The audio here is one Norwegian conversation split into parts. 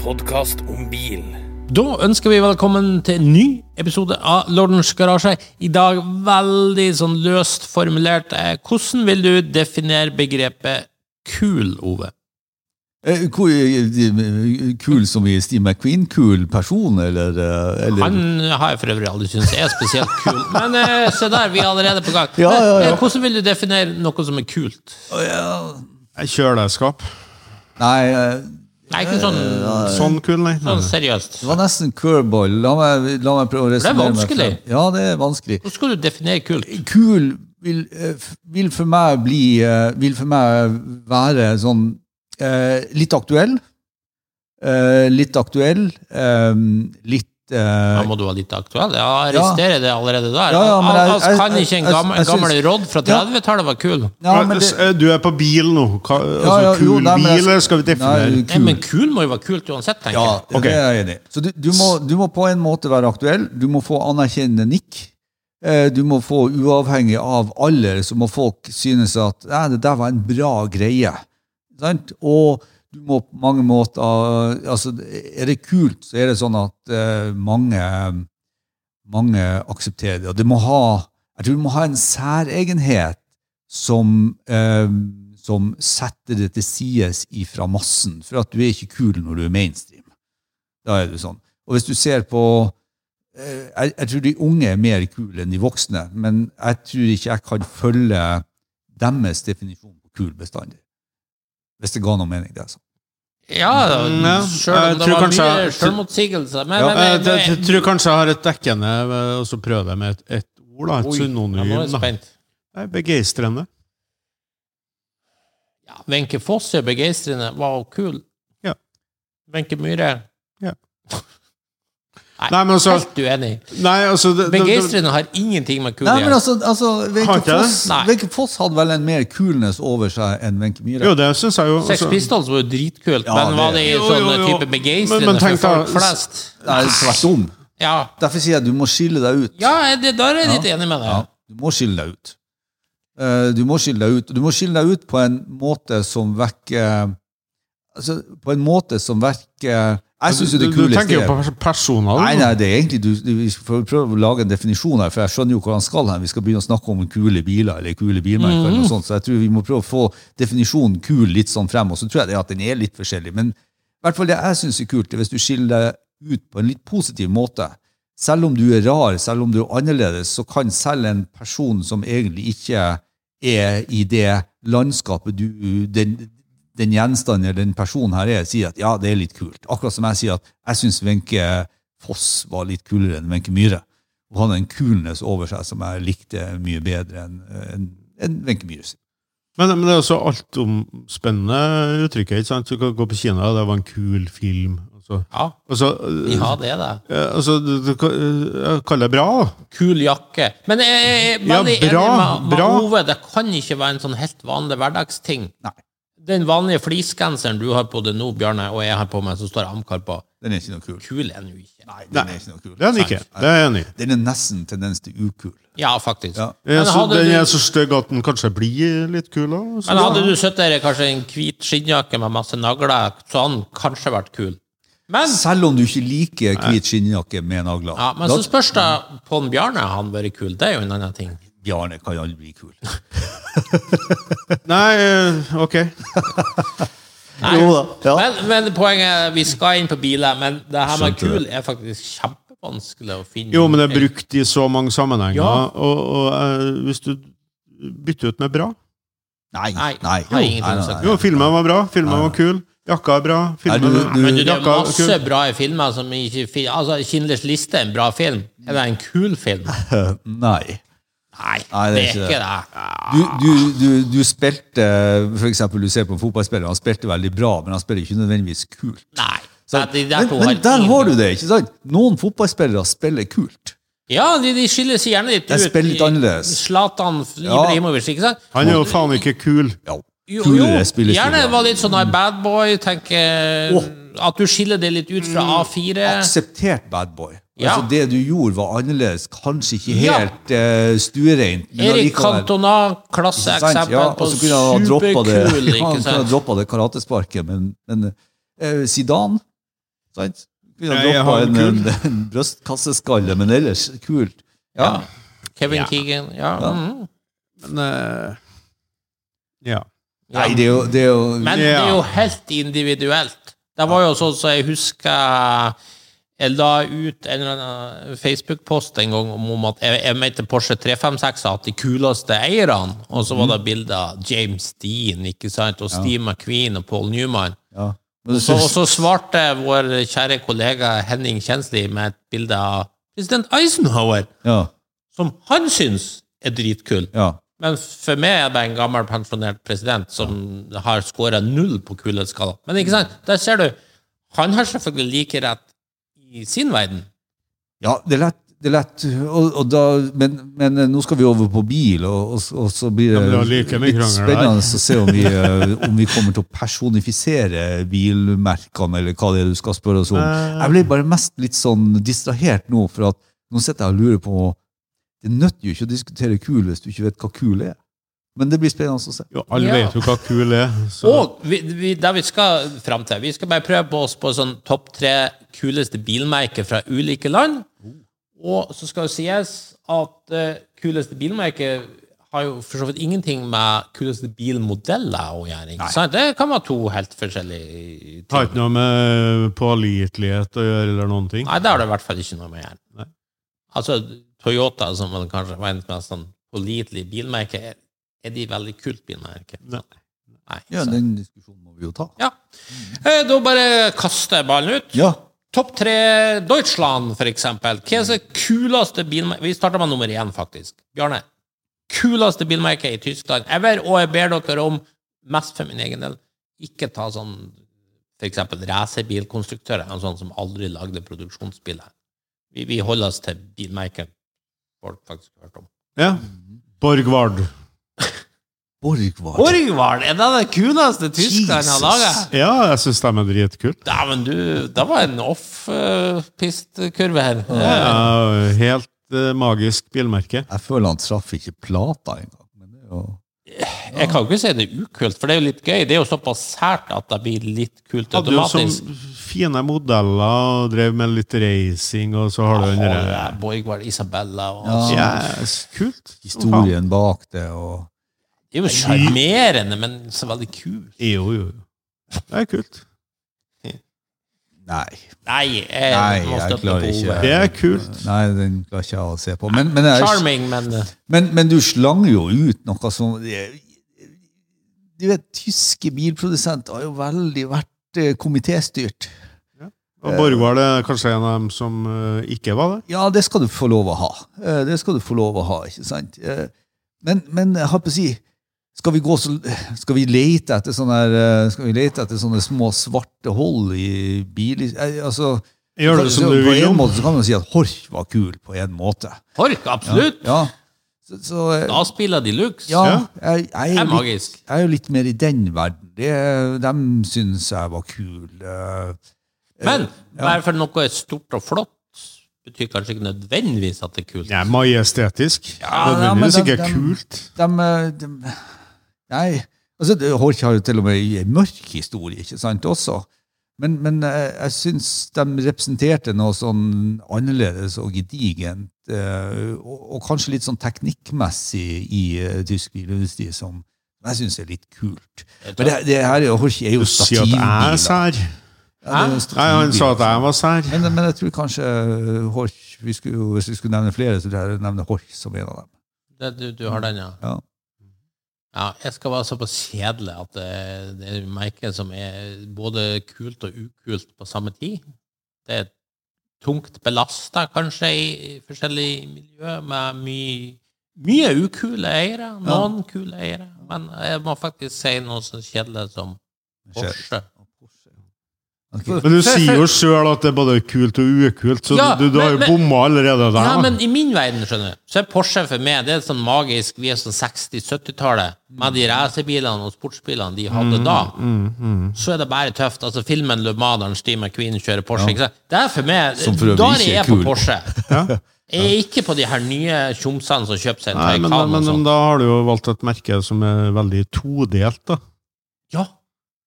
podkast om bil. Da ønsker vi velkommen til en ny episode av Lordens garasje. I dag veldig sånn løst formulert. Eh, Hvordan vil du definere begrepet kul, Ove? Eh, ko- eh, Kul som i Steve McQueen? Kul person, eller, eh, eller Han har jeg for øvrig aldri syntes er spesielt kul, men eh, se der, vi er allerede på gang. Ja, ja, ja. Men, eh, Hvordan vil du definere noe som er kult? Kjøleskap. Nei, eh, Nei, ikke sånn, Sånn kul, nei. sånn nei. seriøst. det var nesten curveball. La meg, la meg prøve å resonnere meg vanskelig. frem. Ja, det er vanskelig. Hvordan skal du definere kult? Kul vil, eh, f- vil for meg bli eh, Vil for meg være sånn eh, litt aktuell. Eh, litt aktuell. eh, litt Da eh, må du være litt aktuell. Ja, arrestere det allerede der. Ja, ja, men jeg- Altså, jeg- kan ikke en jeg- jeg- gammel, jeg synes- gammel råd fra Ja. 30-tallet være kul? ja, men S- det- eh, Du er på bil nå. Hva, ja, altså, ja, kul jo, nei, men jeg bil, eller skal vi Nei, definere? Nei, men kul må jo være kult uansett, tenker jeg. Ja, Ok. det er jeg enig i. Så du, du, må, du må på en måte være aktuell. Du må få anerkjennende nikk. Eh, Du må få, uavhengig av alder, så må folk synes at «Nei, det der var en bra greie. Sant? Og du må på mange måter altså, Er det kult, så er det sånn at eh, mange, mange aksepterer det. Og det må ha, jeg tror du må ha en særegenhet som, eh, som setter det til sides ifra massen. For at du er ikke kul når du er mainstream. Da er du sånn. Og hvis du ser på eh, jeg, jeg tror de unge er mer kule enn de voksne, men jeg tror ikke jeg kan følge deres definisjon på kul bestandig. Hvis det ga noe mening, det. Altså. Ja, Mm, ja. sjøl om Jeg det tror var kanskje- mye selvmotsigelser. Men, Eh, men, det- men, Jeg tror kanskje jeg har et dekkende, eh, og så prøver jeg med et, et ord, da. Et Oi, ja, nå er jeg synonym. da. spent. Nei, Begeistrende. Ja, Wenche Foss er begeistrende. Wow, kul. Ja. Wenche Myhre. Ja. Nei, Nei, men altså helt uenig. Nei, altså det- det- det- Begeistrende har ingenting med kul å Nei, men gjøre. altså, altså Har Wenche ikke jeg det? Foss, Nei. Wenche Foss hadde vel en mer kulness over seg enn Wenche Myhre? Jo, det syns jeg jo. Sex altså. Pistols var jo dritkult, Ja, men var det i det- sånn Jo, jo, jo. type begeistrende Men- men tenk for da- folk flest? Nei, tvert om. Ja, Derfor sier jeg du må skille deg ut. ja det, der er jeg litt enig med deg. Ja, du må skille deg ut. Eh, Du må skille deg ut. Du må skille deg ut på en måte som vekker Altså, på en måte som verker Jeg syns jo det Du- Du kuleste tenker jo er på pers- personer. Nei, da. nei, det er egentlig du, du, Vi får prøve å lage en definisjon her, for jeg skjønner jo hvor han skal hen. Vi skal begynne å snakke om kule biler eller kule bilmerker, eller noe sånt, så jeg tror vi må prøve å få definisjonen kul litt sånn frem. Og så tror jeg det at den er litt forskjellig. Men i hvert fall det jeg syns er kult, er hvis du skiller deg ut på en litt positiv måte. Selv om du er rar, selv om du er annerledes, så kan selv en person som egentlig ikke er i det landskapet du den, den gjenstanden eller den personen her er, sier at ja, det er litt kult. Akkurat som jeg sier at jeg syns Wenche Foss var litt kulere enn Wenche Myhre. Hun hadde en kulness over seg som jeg likte mye bedre enn enn- enn Wenche Myhre. sin. Men, men det er også altomspennende uttrykket. ikke sant? Du kan gå på Kina, og det var en kul film. Altså, Ja, altså, eh, ja det er det. eh, altså du, du, ka- eh, jeg kaller det bra, da. Kul jakke. Men jeg er Ja, veldig bra, enig med, med bra. Ove. Det kan ikke være en sånn helt vanlig hverdagsting. Nei. Den vanlige fleecegenseren du har på deg nå, Bjarne, og jeg har på meg, som står Amcar på, Den er ikke noe kul. kul er den jo ikke. Nei, den er ikke noe kul. Det er den ikke. Det er jeg enig i. Den er nesten tendens til ukul. Ja, faktisk. Ja. Ja, Men, så hadde Den er du, så stygg at den kanskje blir litt kul òg. men hadde du sittet der i kanskje en hvit skinnjakke med masse nagler, så hadde den kanskje vært kul. Men, Selv om du ikke liker hvit skinnjakke med nagler. ja, men Da- så spørs det på en Bjarne har han vært kul. Det er jo en annen ting. Bjarne kan aldri bli kul. Nei, eh, ok. Jo da. Ja. Men, men poenget er, vi skal inn på biler, men det her med Skjønte kul er faktisk kjempevanskelig å finne. Jo, men det er brukt i så mange sammenhenger. Ja. Og, og eh, hvis du bytter ut med bra Nei. Nei, Nei. har ingenting Nei, nei, å si. nei. Jo, filmen var bra. Filmen var kul. Jakka er bra. Filmen Nei, du- du- Men du, det er jakka er masse kul. bra i filmer som ikke fi- Altså, 'Kindlers liste' er en bra film. Er det en kul film? Nei. Nei, Nei, det er ikke det. Du, du, du, du spilte for eksempel, Du ser på en fotballspiller, han spilte veldig bra, men han spiller ikke nødvendigvis kult. Nei. Så, de der men, to men der ingen- har du det, ikke sant? Noen fotballspillere spiller kult. Ja, de, de skiller seg gjerne litt ut. De spiller litt i- annerledes. Zlatan Ja. Ibrahimovic, ikke sant? Han er jo faen ikke kul. Ja, Jo, jo, kulere gjerne spillestiler. var litt sånn her bad boy, tenker At du skiller det litt ut Mm. fra A4. Akseptert bad boy. Ja. Altså, det du gjorde, var annerledes. Kanskje ikke Ja. helt eh, stuereint. men Erik allikevel- Cantona, Ikke sant? klasseeksempel Ja, på og så kunne han ha droppet det, superkul, ja, ikke han kunne ha sant? droppet det karatesparket, men, men eh, Zidane Sant? Kunne Nei, jeg ha har droppa en, en, kul. en brystkasseskalle, men ellers kult. Ja. Kevin Ja. Keegan, ja. Ja. mhm. Men eh, Ja. ja. Nei, det er jo, det er jo Men det er jo helt individuelt. Det var jo sånn som jeg husker jeg la ut en eller annen Facebook-post en gang om, om at jeg, jeg mente Porsche 356 at de kuleste eierne, og så var det bilder av James Dean ikke sant, og Steve McQueen og Paul Newman. ja. Men Så, og så svarte vår kjære kollega Henning Kjensli med et bilde av president Eisenhower, ja, som han syns er dritkul. ja. Men for meg er det en gammel pensjonert president som har skåra null på kulhetsskala. Men ikke sant, der ser du. Han har selvfølgelig like rett i sin verden. ja, det er lett. Det er lett, og, og da, men, men eh, nå skal vi over på bil, og, og, og så blir det, Ja, men det var like mye litt krangel der. spennende å se om vi, eh, om vi kommer til å personifisere bilmerkene, eller hva det er du skal spørre oss om. Eh. Jeg ble bare mest litt sånn distrahert nå, for at nå sitter jeg og lurer på Det nytter jo ikke å diskutere kul hvis du ikke vet hva kul er. Men det blir spennende å se. Jo, alle Ja. vet jo hva kul er. Så. Og vi, vi, der vi skal fram til Vi skal bare prøve på oss på sånn topp tre kuleste bilmerker fra ulike land. Og så skal det sies at eh, kuleste bilmerke har jo for så vidt ingenting med kuleste bilmodeller å gjøre. ikke sant? Det kan være to helt forskjellige ting. Har ikke noe med eh, pålitelighet å gjøre eller noen ting. Nei, det har det i hvert fall ikke noe med å gjøre. Nei. Altså, Toyota, som vel kanskje er verdens mest sånn pålitelige bilmerke, er, er de veldig kult bilmerke? Nei. Nei, Ja, så- den diskusjonen må vi jo ta. ja. Eh, Da bare kaster jeg ballen ut. Ja. Topp tre Deutschland, for eksempel. Hva er det kuleste bilmerket Vi starter med nummer én, faktisk. Bjarne. Kuleste bilmerket i Tyskland ever, og jeg ber dere om, mest for min egen del, ikke ta sånn for eksempel racerbilkonstruktører, en sånn som aldri lagde produksjonsbiler. Vi, vi holder oss til bilmerker folk faktisk har hørt om. Ja. Borgvard. Borgvar. Borgward! Er det det kuleste Tyskland Jesus. har laget? Ja, jeg syns de er dritkult. Dæven, du, det var en off-pist-kurve her. Ja, helt eh, magisk bilmerke. Jeg føler han traff ikke plata engang. Men det er jo Jeg kan jo ikke si det er ukult, for det er jo litt gøy. Det er jo såpass sært at det blir litt kult Hadde jo sånn automatisk. fine modeller og drev med litt racing, og så har du den Åh, derre ja, Borgward, Isabella og Ja. Ja, kult. historien bak det og Det er jo sjarmerende, men så veldig kult. Jo, jo, jo. Det er kult. Nei. Nei, jeg Nei, må jeg støtte klarer på ikke. Ove. Det er kult. Nei, den klarer ikke jeg å se på. Men, men, jeg, Charming, men eh, men, men du slang jo ut noe som Du vet, tyske bilprodusenter har jo veldig vært eh, komitéstyrt. Og Borgvard er kanskje en av dem som eh, ikke var det. Ja, det skal du få lov å ha. Eh, Det skal du få lov å ha, ikke sant? Eh, Men, men jeg har på å si skal vi, gå så, skal vi lete etter sånne, her, eh, skal vi lete etter sånne små svarte hold i bil... eh, Altså, Gjør det som så- du på vil en om. måte så kan man si at Horch var kul på en måte. Hork, absolutt! Ja, så, så eh, Da spiller de luxe. ja ja. jeg, Det jeg, er er litt, magisk. jeg er jo litt mer i den verden. Det, dem syns jeg var kul. eh. Men bare for noe er stort og flott, betyr kanskje ikke nødvendigvis at det er kult. Nei, majestetisk. Ja, det ja, men er den- sikkert den- kult. De, eh, de Nei. Altså, det- Horch har jo til og med en mørk historie, ikke sant, også. Men, men eh, jeg syns de representerte noe sånn annerledes og gedigent, eh, og, og kanskje litt sånn teknikkmessig i eh, tysk bilindustri som jeg syns er litt kult. Men det, det her er jo, Horch er Du jo sier at jeg er stativbiler. sær. Ja, det er jo Nei, han sa at jeg var sær. Men, men jeg tror kanskje eh, Horch vi skulle, jo- Hvis vi skulle nevne flere, så tror jeg jeg nevner Horch som en av dem. Det, du, du har den, ja. Ja. Ja, jeg skal være såpass kjedelig at det, det er merket som er både kult og ukult på samme tid. Det er tungt belasta, kanskje, i forskjellige miljø, med mye, mye ukule eiere. Noen kule eiere. Men jeg må faktisk si noe så kjedelig som Porsche. Ok. Men du sier jo sjøl at det er både kult og ukult, så Ja, du, du har jo men- men- bomma allerede der. Ja, da. men i min verden, skjønner du, så er Porsche for meg det er sånn magisk. Vi er sånn 60-70-tallet, med de racerbilene og sportsbilene de hadde da. Mm, Så er det bare tøft. Altså, filmen Le Mans, der Steve McQueen kjører Porsche ikke sant? Det er for meg Som for øvrig Da er ikke er jeg kul. på Porsche. Jeg er ikke på de her nye tjomsene som kjøper seg en Nei, altså. men, Taycan men, og men sånn. da har du jo valgt et merke som er veldig todelt, da. Ja,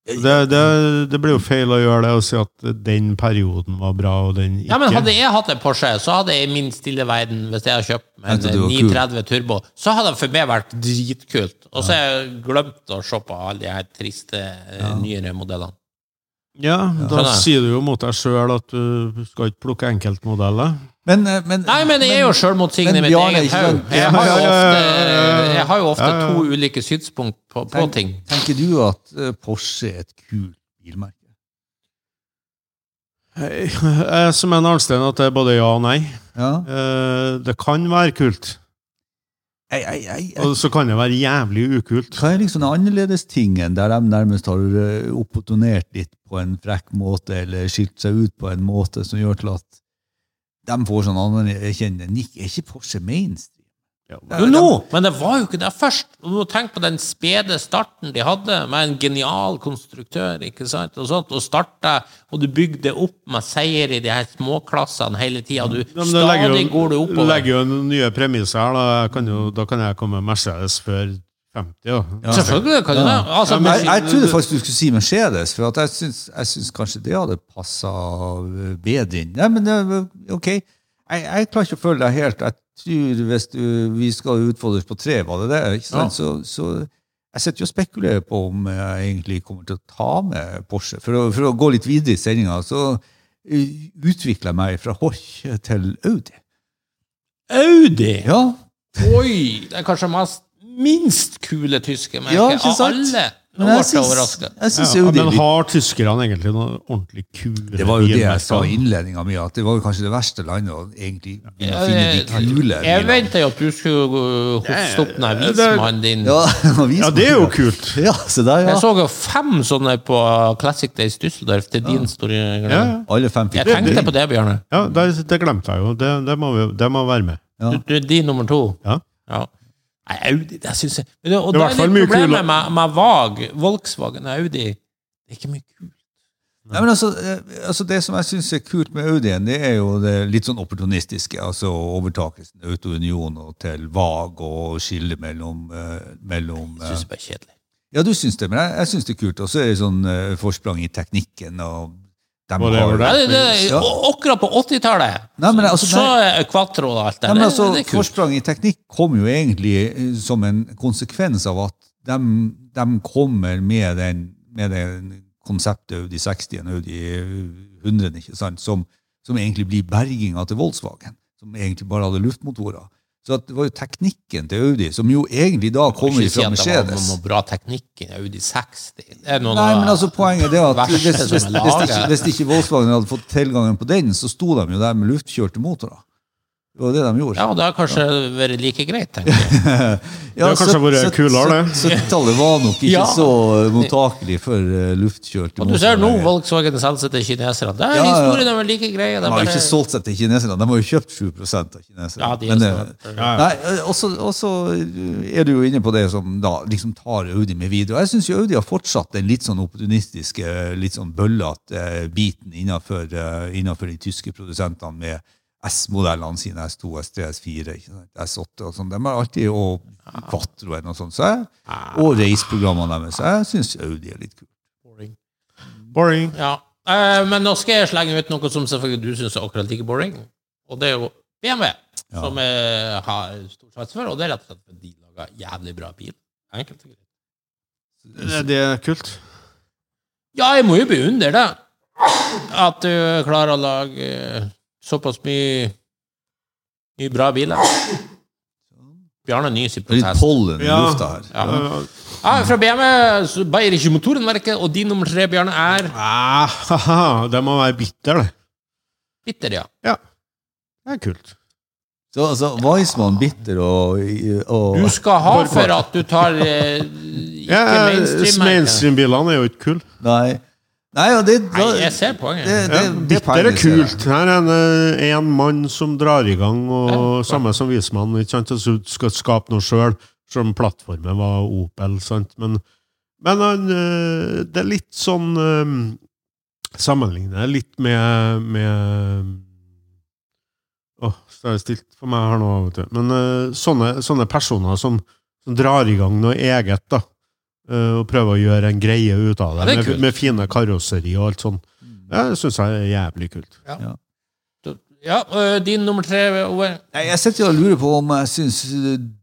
Det, det, det blir jo feil å gjøre det og si at den perioden var bra, og den ikke. Ja, men Hadde jeg hatt en Porsche, så hadde jeg i min stille verden, hvis jeg hadde kjøpt meg Tenkte du en var kul. 930 Turbo, så hadde det for meg vært dritkult. Og så har jeg glemt å se på alle de her triste, eh, nyere modellene. ja, da Skjønner jeg. sier du jo mot deg sjøl at du skal ikke plukke enkeltmodeller. Men, eh, men, Nei, men jeg er jo men sjølmotsigende i mitt Bjarne, eget ikke hode. sant? Jeg har jo Ja, ja, ja, ofte, ja, ja, ja. jeg har jo ofte Ja, ja. to ulike synspunkt på, på Tenk- ting. Tenker du at eh, Porsche er et kult bilmerke? Hei, eh, Som en Arnstein at det er både ja og nei. Ja. Eh, Det kan være kult, Ei, ei, ei, ei. og så kan det være jævlig ukult. Hva er liksom den annerledestingen der de nærmest har eh, opportunert litt på en frekk måte, eller skilt seg ut på en måte som gjør til at de får sånn anerkjennende nikk? Er ikke Porsche mainstream? Jo, nå, men Eh, det var jo ikke det først. Og nå Tenk på den spede starten de hadde, med en genial konstruktør. ikke sant? Og sånt, og starta, og du bygde opp med seier i de her småklassene hele tida. Du Ja, men det legger stadig jo, går du oppover. legger jo nye premisser her. Da Jeg kan, jo, da kan jeg komme med Mercedes før 50. Ja. Selvfølgelig kan du det. Altså, Ja, men Jeg, men, jeg trodde faktisk du skulle si Mercedes, for at jeg syns, jeg syns kanskje det hadde passa bedre inn. Nei, men det- ok, jeg, jeg klarer ikke å følge deg helt. Jeg tror hvis du, vi skal utfordres på tre, var det det? Ikke sant? Så, så jeg sitter jo og spekulerer på om jeg egentlig kommer til å ta med Porsche. For å, for å gå litt videre i sendinga, så utvikla jeg meg fra Horch til Audi. Audi! Ja, Oi! Det er kanskje mest, minst kule tyske merket Ja, ikke av sant? alle. Nå men ble jeg jeg syns, overraska. jeg syns Ja, Audi er men litt har tyskerne egentlig noen ordentlig kule Det var jo det jeg sa i bilmerker? innledninga mi, at det var jo kanskje det verste landet å egentlig begynne å finne de kule Jeg venta jo at du skulle uh, hoste opp den her det- vismannen din. Ja, Ja, det er jo kult. Ja, se der, ja. Jeg så jo fem sånne på Classic Days Düsseldorf til din store glede. Ja, Alle fem fikk Jeg tenkte det. på det, Bjørne. ja det, det glemte jeg jo. Det, det, må, vi, det må være med. Ja. Du, du er din nummer to. Ja. Ja. Nei, Audi, det syns jeg Men det, Og det er Det er i hvert fall litt mye kulere. problemet med, med Vag, Volkswagen og Audi. Det er ikke mye kult. Nei, men altså, eh, altså Det som jeg syns er kult med Audien, det er jo det litt sånn opportunistiske. altså Overtakelsen av Auto-Union og til Vag og skillet mellom, eh, mellom eh, Syns jeg bare er kjedelig. Ja, du syns det, men jeg, jeg syns det er kult. Og så er det sånn eh, forsprang i teknikken. og dem Var det- var Ja, det- det, det, Ja. og akkurat på 80-tallet Nei, men altså, så er Quatro og alt det Ja, der. men Det, altså, det er kult. Forsprang i teknikk kom jo egentlig eh, som en konsekvens av at de, kommer med den, med den konseptet Audi 60 og Audi 100 ikke sant? Som, som egentlig blir berginga til Volkswagen, som egentlig bare hadde luftmotorer. Så at det var jo teknikken til Audi, som jo egentlig da kommer Ikke si fra at det var Mercedes. noe bra teknikk i Audi 60. Det er noen Nei, av- men altså poenget er det at verste hvis, hvis, hvis, som er laget. ikke, hvis ikke Volkswagen hadde fått tilgangen på den, så sto de jo der med luftkjørte motorer. Det var det de gjorde. Ja, det har kanskje vært like greit, tenker jeg. Ja, Det har kanskje vært sytt- kulere, det. sytt- 70-tallet var nok ikke Ja. så eh, mottakelig for eh, luftkjølte Og du ser nå motorveier. Volkswagen selger seg til kineserne. Det er Ja, ja. historien er vel like grei. Det De er har jo bare- ikke solgt seg til kineserne. De har jo kjøpt 7 av kineserne. Ja, de er sånn Men, smart. eh, nei, eh, også, også eh, er du jo inne på det som da liksom tar Audi med videre. Og Jeg syns Audi har fortsatt den litt sånn opportunistiske, litt sånn bøllete eh, biten innenfor, eh, innenfor de tyske produsentene med S-modellene sine, S2, S3, S4, ikke sant, S8 og sånn. De har alltid og Quatroen og sånn. Så jeg, og raceprogrammene deres. Så Jeg syns Audi er litt kul. Boring. Ja. Eh, men nå skal jeg slenge ut noe som selvfølgelig du syns er akkurat like boring. Og det er jo BMW, som jeg har stor sats for. Og det er rett og slett fordi de lager jævlig bra bil. Enkelt og greit. Det, det er kult. Ja, jeg må jo beundre det. At du klarer å lage eh, såpass mye mye bra biler. Bjarne Nys i Det er Sånn. litt protest. pollen i Ja. lufta her. Ja. Eh, Ja, fra BMW så Bayerische Motorenwerke, og din nummer tre, Bjarne, er ah, haha, det må være bitter, det. Bitter, ja. Ja. Det er kult. Så altså, Weissmann bitter og, og Du skal ha Bare for at du tar eh, Ja, ikke mainstream. Mainstream-bilene er jo ikke kule. Nei. Nei, ja, det, Nei, jeg ser poenget. det, det, Ja, det bitter er poenget, ser jeg. kult. Her er en, eh, en mann som drar i gang, og samme som vismannen. ikke sant? Altså, du skal skape noe sjøl, selv om plattformen var Opel. sant? Men, men han, eh, det er litt sånn eh, Sammenligne det litt med, med Åh, så er det stilt for meg her nå, vet du. Men eh, sånne, sånne personer som, som drar i gang noe eget, da. eh, og prøver å gjøre en greie ut av Ja, det det, er med, kult. Mm. med fine karosseri og alt sånn. Ja, Det syns jeg er jævlig kult. Ja, øh, din nummer tre Ove. Nei, jeg sitter jo og lurer på om jeg syns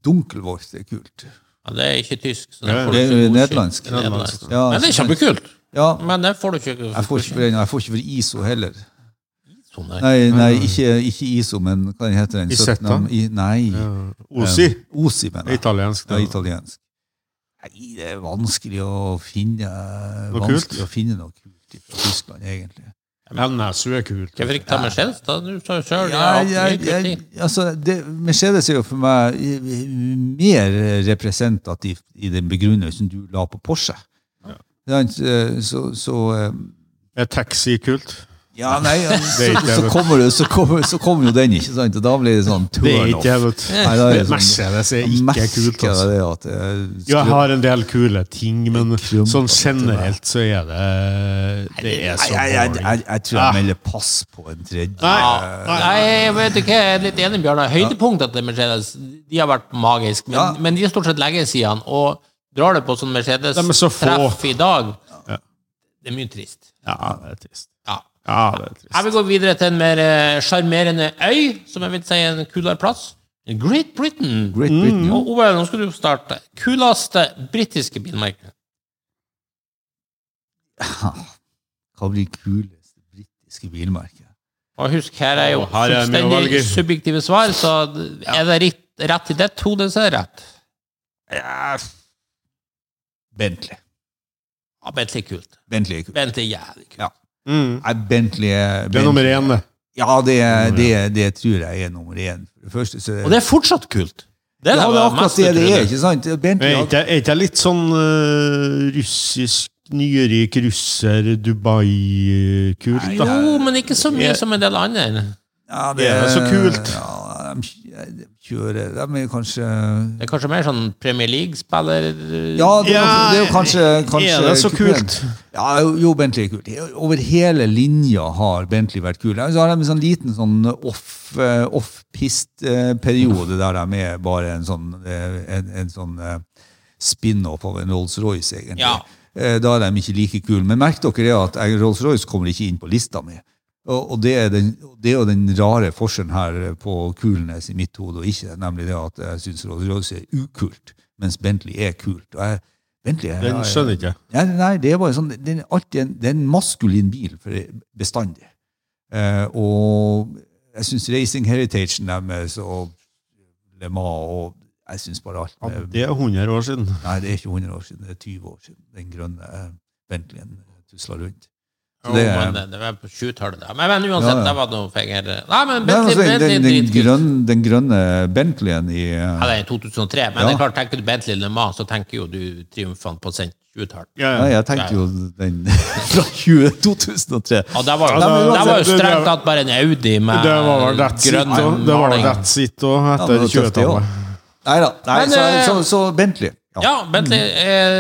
Dunkelvort er kult. Ja, det er ikke tysk. Så Ja, den får du det er ikke jo godkjent. nederlandsk. Det er nederlandsk. Ja, Men det er kjempekult. Ja, Men den får du ikke jeg får ikke for den, og jeg får ikke for ISO heller. Sånn der. Nei, nei ikke, ikke ISO, men hva den heter den? Isetta? 17 I, nei, Ja. Osi OSI, mener er jeg. italiensk. Ja, Det. italiensk. Nei, det er vanskelig å finne Noe vanskelig kult? å finne noe kult fra Tyskland, egentlig. NSU er kult. Hvorfor ikke ta Mercedes? Da du sa jo selv, Ja, det er jeg, alt mye jeg, kult i. altså, det, Mercedes er jo for meg eh, mer representativt i den begrunnelsen du la på Porsche. Ja. Så, så eh, Er taxi kult? Ja, nei, så, Det er ikke så, det. kommer, du- så, kommer, så kommer jo den, ikke sant? Og da blir det sånn Det er ikke turn-off. det, vet du. Nei, da er det sånn- Mercedes er ikke kult. altså. det at eh, Jo, jeg har en del kule ting, men Krump, sånn vet du, generelt så er det Det er Nei, så jeg, jeg, boring. jeg, jeg tror jeg melder pass på en tredje. Ah, Nei, Nei, jeg vet ikke, jeg er litt enig med Bjørnar. Høydepunktet til Mercedes de har vært magisk, men, Ja. men de er stort sett lenge siden. Og drar det på sånn De er så Mercedes-treff få. i dag, Ja. det er mye trist. Ja, det er trist. Ja. Ja, det er trist. Jeg vil gå videre til en mer eh, sjarmerende øy, som jeg vil si er en kulere plass. Great Britain. Great Britain. Mm. ja. Og Ove, nå skal du starte. Kuleste britiske bilmerke. Hva blir kuleste britiske bilmerket? Og husk, her er jo Å, her er mye å fullstendig velge. subjektive svar, så er det rett, rett i ditt hode, så er det rett. Bentley. Ja, Bentley er kult. Bentley er kult. Bentley er jævlig kult. Ja. Mm. Nei, Bentley er Det er nummer én, det. Ja, det, det, det tror jeg er nummer én. For det første så Og det er fortsatt kult. Det er ja, det er det akkurat mest det det er, utrolige. ikke sant? Bentley, Er ja. ikke- er ikke jeg litt sånn eh, russisk, nyrik russer, Dubai-kult, da? Jo, men ikke så mye som en del andre. ja, det er så kult. Ja, de, de kjører De er kanskje Det er kanskje mer sånn Premier League-spiller Ja, det er, jo- det er jo kanskje, kanskje Er det så kupeen. kult? Ja, jo, jo, Bentley er kult. Over hele linja har Bentley vært kul. Så har de en sånn liten sånn off, eh, off-pist-periode der de er bare en sånn, eh, en, en sånn eh, spin-off av en Rolls-Royce, egentlig. Ja. Eh, Da er de ikke like kule. Men merk dere det at jeg- Rolls-Royce kommer ikke inn på lista mi. Og, og det, er den, det er jo den rare forskjellen her på kulnes i mitt hode og ikke, nemlig det at jeg syns Rolls-Royce er ukult, mens Bentley er kult. Og jeg, Bentley er, Den skjønner jeg ikke. Nei, nei, nei, det er bare sånn, det er alltid en, det er en maskulin bil for bestandig. Eh, og jeg syns Racing Heritagen deres og Le Mans og Jeg syns bare alt Ja, med, Det er 100 år siden. Nei, det er ikke 100 år siden, det er 20 år siden den grønne eh, Bentleyen tusla rundt. Jo, Så det er- men det- det var på 20-tallet. da. Men, men uansett, Ja, ja. det var noe fenger. Nei, men Nei, Bentley, altså, den, Bentley den, er den, dritkult. grønne, den grønne Bentleyen i eh, Ja, det er i 2003, men Ja. det er klart, tenker du Bentley Le Mans, så tenker jo du triumfene på sent 20-tall. Ja, Nei, ja. jeg tenkte jo den fra 20, 2003. Og der var jo, der Ja, det- var jo det- det- strengt tatt bare en Audi med Det var vel that's it grønn òg. Det var vel maling. that's it òg, Eh, Ja, men etter det var tøft, det også. 20-tallet. Neida, nei Men, så, eh, så, så Bentley. Ja. Ja, Bentley. Eh,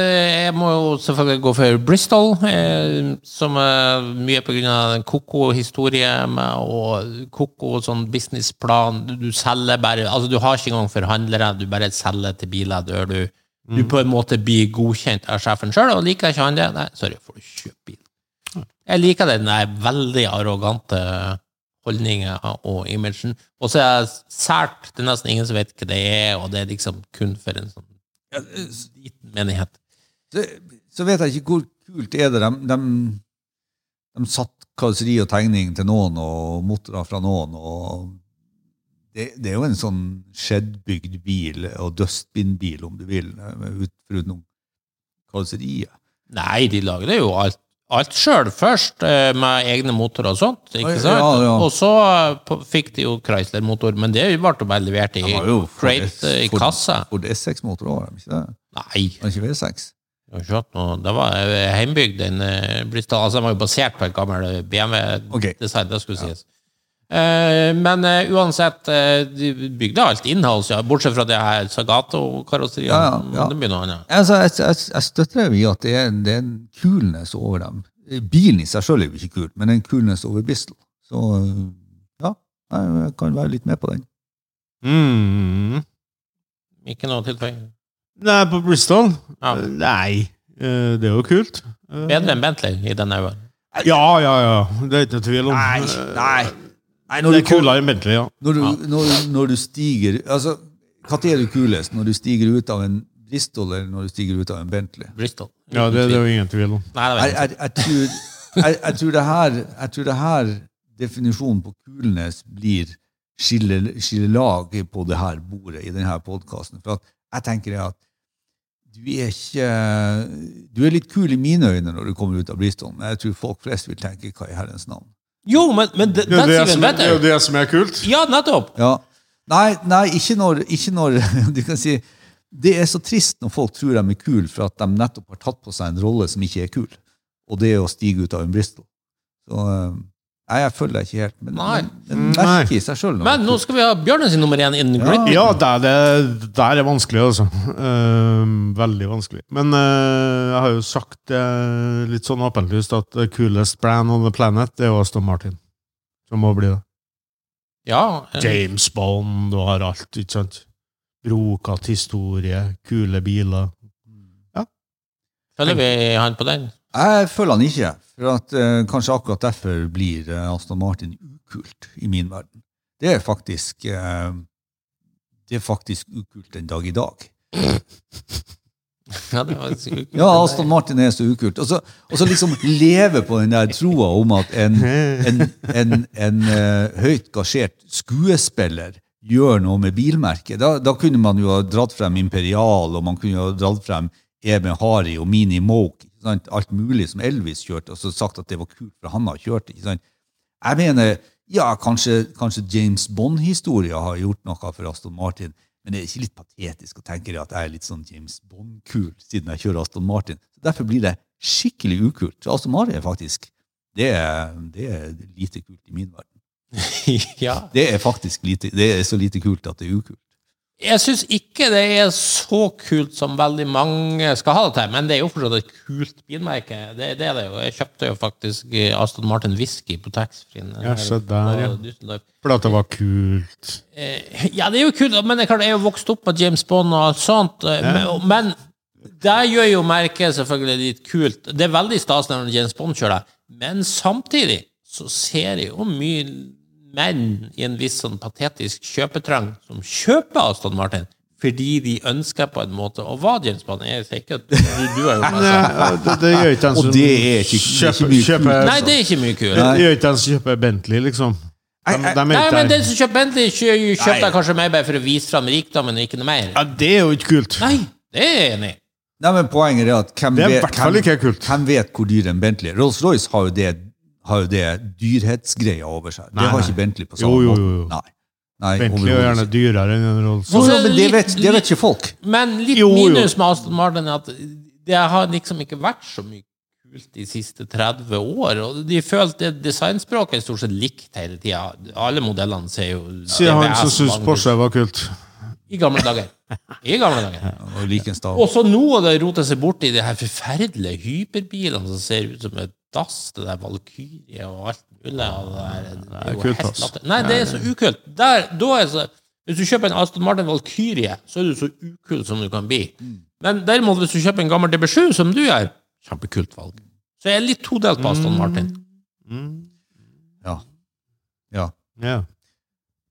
jeg må jo selvfølgelig gå for Bristol, eh, som er mye på grunn av den koko-historie med- og koko og sånn businessplan. Du, du selger bare Altså, du har ikke engang forhandlere, du bare selger til biler der du Du på en måte blir godkjent av sjefen sjøl, og liker ikke han det, nei, sorry, får du kjøpe bil. Jeg liker den der veldig arrogante holdninga og imagen. Og så er det sært, det er nesten ingen som vet hva det er, og det er liksom kun for en sånn liten menighet. så, så vet jeg ikke hvor kult er det. De, de, de satt karosseri og tegning til noen, og motorer fra noen. og det, det er jo en sånn skjeddbygd bil, og dustbin-bil, om du vil, ut- foruten karosseriet. Nei, de lagde jo alt, alt sjøl først, eh, med egne motorer og sånt. Ja, ikke sant? ja, ja. Og så eh, på- fikk de jo Chrysler-motor, men det ble jo bare levert i var jo for crate S- eh, i for- kassa. For det er seks motorer, har de ikke det? Nei, Har de ikke V6? det var ikke hatt noe. det var eh, heimbygd, den eh, Bristol. Altså, den var jo basert på eh, en gammel Ok. BMW-design, det skulle sies. Eh, men eh, uansett, eh, de bygde alt innhold, ja, bortsett fra det her Sagato-karosseriet. Ja, ja, ja. Det blir noe annet. Altså, jeg, jeg, jeg støtter dem i at det er, en- det er en kulness over dem. Bilen i seg selv er jo ikke kul, men det er en kulness over Bristol. Så ja, jeg jeg kan være litt med på den. Mm. Ikke noe tilføying. Nei, Mm. på Bristol? Ja. Nei. Eh, Det er jo kult. Eh, Bedre enn Bentley i den øyen. Ja, ja, ja. Det er ikke tvil om. Nei, Eh, nei. nei Det når, er du, kulere enn Bentley, ja. når, du, når, du, når du stiger altså, Når er du kulest? Når du stiger ut av en Bristol eller når du stiger ut av en Bentley? Bristol. Ja, det, det er jo ingen tvil om. Nei, det Jeg, vet jeg. jeg, jeg, tror, jeg, jeg, tror det her, jeg tror det her definisjonen på kulnes blir skille- skillelag på det her bordet i denne podkasten. For at jeg tenker det at du er ikke Du er litt kul i mine øyne når du kommer ut av Bristol, men jeg tror folk flest vil tenke 'hva i herrens navn'? Jo, men, men th- Det er jo det that's even som er, det er, jo better. det som er kult. Ja, nettopp! Ja. Nei, nei ikke, når, ikke når Du kan si Det er så trist når folk tror de er kule for at de nettopp har tatt på seg en rolle som ikke er kul, og det er å stige ut av en Bristol. Så eh, Nei, jeg følger deg ikke helt, men, Nei. men det merker i seg sjøl noe. Men nå skal vi ha Bjørnes nummer én in Great Britain. Ja, der, det, der er vanskelig, altså. Ehm, veldig vanskelig. Men eh, jeg har jo sagt det litt sånn åpenlyst at the coolest brand on the planet det er jo Aston Martin. Som må bli det. Ja. James Bond, du har alt, ikke sant? Brokat historie, kule biler. Følger vi han på den? Jeg følger han ikke, for at, eh, kanskje akkurat derfor blir eh, Aston Martin ukult i min verden. Det er faktisk eh, det er faktisk ukult den dag i dag. Ja, det var sykt. Ja, Aston Martin er så ukult. Og så, og så liksom leve på den der troa om at en, en, en, en eh, høyt gasjert skuespiller gjør noe med bilmerket. Da, da kunne man jo ha dratt frem Imperial, og man kunne jo ha dratt frem Eben Hari og Mini Moke. ikke Sant? Alt mulig som Elvis kjørte, og så sagt at det var kult, for han har kjørt det. ikke sant? Jeg mener, ja, kanskje, kanskje James Bond-historia har gjort noe for Aston Martin, men det er ikke litt patetisk å tenke det at jeg er litt sånn James Bond-kul siden jeg kjører Aston Martin. Så derfor blir det skikkelig ukult. Så Aston Martin er faktisk det er, det er lite kult i min verden. ja. Det er faktisk lite, det er så lite kult at det er ukult. Jeg syns ikke det er så kult som veldig mange skal ha det til, men det er jo fortsatt et kult bilmerke. Det, det er det jo. Jeg kjøpte jo faktisk eh, Aston Martin Whisky på taxfree. Ja, se der, ja. ja. For at det var kult. Ja, det er jo kult, men jeg klart, jeg er jo vokst opp med James Bond og alt sånt, eh, men, men det gjør jo merket selvfølgelig litt kult. Det er veldig stas når James Bond kjører, men samtidig så ser jeg jo mye menn i en viss sånn patetisk kjøpetrang som kjøper Aston Martin, fordi de ønsker på en måte å være James Bond. Jeg sier ikke at du, du har gjort det. Nei, altså. det, det gjør ikke en Og som det er ikke- det er ikke kjøper, mye kjøper, kult. Nei, det er ikke mye kult. det gjør ikke en som kjøper Bentley, liksom. De, de er Nei, ikke men der. den som kjøper Bentley, kjø- kjøper kanskje mer bare for å vise fram rikdommen, og ikke noe mer. Ja, det er jo ikke kult. Nei, det er jeg enig i. Nei, men Poenget er at hvem Det er i vet, hvert fall hvem- ikke kult. hvem vet hvor dyr en Bentley er? Rolls-Royce har jo det, har jo det dyrhetsgreia over seg. Nei, det har nei. ikke Bentley på Jo, samme jo, måte. jo, jo. Nei. Nei, Bentley er overhodet jo ikke. gjerne dyrere enn en Rolls. Jo, Og så jo, er men det det litt- vet, det vet ikke folk. Men litt Jo, jo. minus med Aston Martin er at det har liksom ikke vært så mye kult de siste 30 år, og de følte det designspråket er stort sett likt hele tida. Alle modellene ser jo Sier han som altså, DBS syns mange- Porsche var kult. I gamle dager. I gamle dager. Og Likenstad. Og så nå har det rota seg bort i de her forferdelige hyperbilene som ser ut som et dass, det der Valkyrie og alt mulig. Og det, der, det er jo kult, helt ass. latter. Nei, det er så ukult. Der, da er det så, hvis du kjøper en Aston Martin Valkyrie, så er du så ukul som du kan bli. Mm. Men derimot, hvis du kjøper en gammel DB7, som du gjør, kjempekult valg. Så jeg er litt todelt på Aston Martin. Mm. Ja. ja. Ja.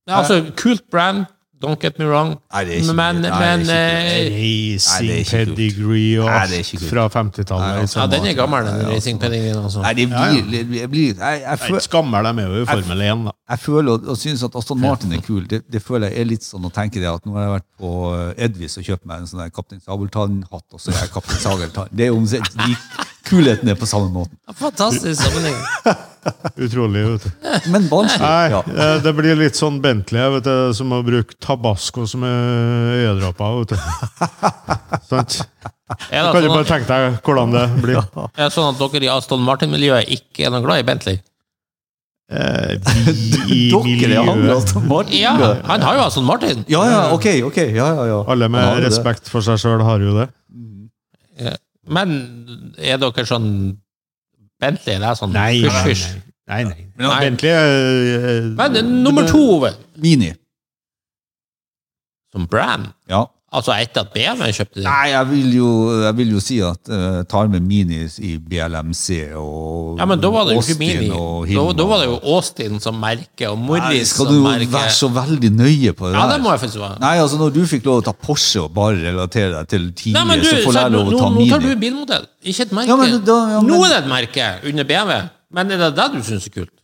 Nei, altså, kult brand, don't get me wrong, Nei, det er ikke men, kult. Nei, men det er ikke eh, Nei, det Racing er ikke kult. pedigree og Nei, alt det er ikke kult. fra Nei, 50-tallet. ja, Liksom. den er gammel, den Nei, altså. Racing Paddingen. Altså. Nei, det blir, det blir, jeg blir jeg, jeg, Nei, føl, Skammer dem er jo i Formel 1, da. jeg føler og, og synes at Aston Martin er kul. Det, det føler jeg er litt sånn å tenke det at nå har jeg vært på eh, Edvis og kjøpt meg en sånn der Kaptein Sabeltann-hatt, og så er jeg Kaptein Sabeltann. Det er omtrent lik kulheten er på samme måten. Fantastisk sammenheng. Utrolig. vet du. Men barnslig. Nei, Ja. eh, det blir litt sånn Bentley vet du, som å bruke tabasco som eh, øyedråper. vet du. Sant? Er Da det kan du sånn bare at, tenke deg hvordan det blir. er det sånn at dere i Aston Martin-miljøet ikke er noe glad i Bentley? Eh, vi i Dere er altså. han med miljøet. Aston Martin? Ja, han har jo Aston Martin! ja, ja, ok. ok, ja, ja, ja. Alle Ja, med det er det. respekt for seg sjøl har jo det. Men er dere sånn Bentley? Det er sånn fysj-fysj. Nei, nei. Nei. Bentley er Men nummer to, Ove, Mini. som brand Ja. Altså etter at BMW kjøpte den? Nei, jeg vil jo, jeg vil jo si at eh, tar med minis i BLMC og Ja, men da var det jo ikke Austin Mini. og Da, Hilma. da var det jo Austin som merke, og Nei, Morris Skal som du merke. være så veldig nøye på det Ja, der? det må jeg faktisk være. Nei, altså Når du fikk lov å ta Porsche og bare relatere deg til tidlig, Nei, men du, så får så, jeg nå, lov å nå, ta nå tar du mini. bilmodell, ikke et merke. Ja, men da- ja, men- Nå er det et merke under BMW, men er det det du syns er kult?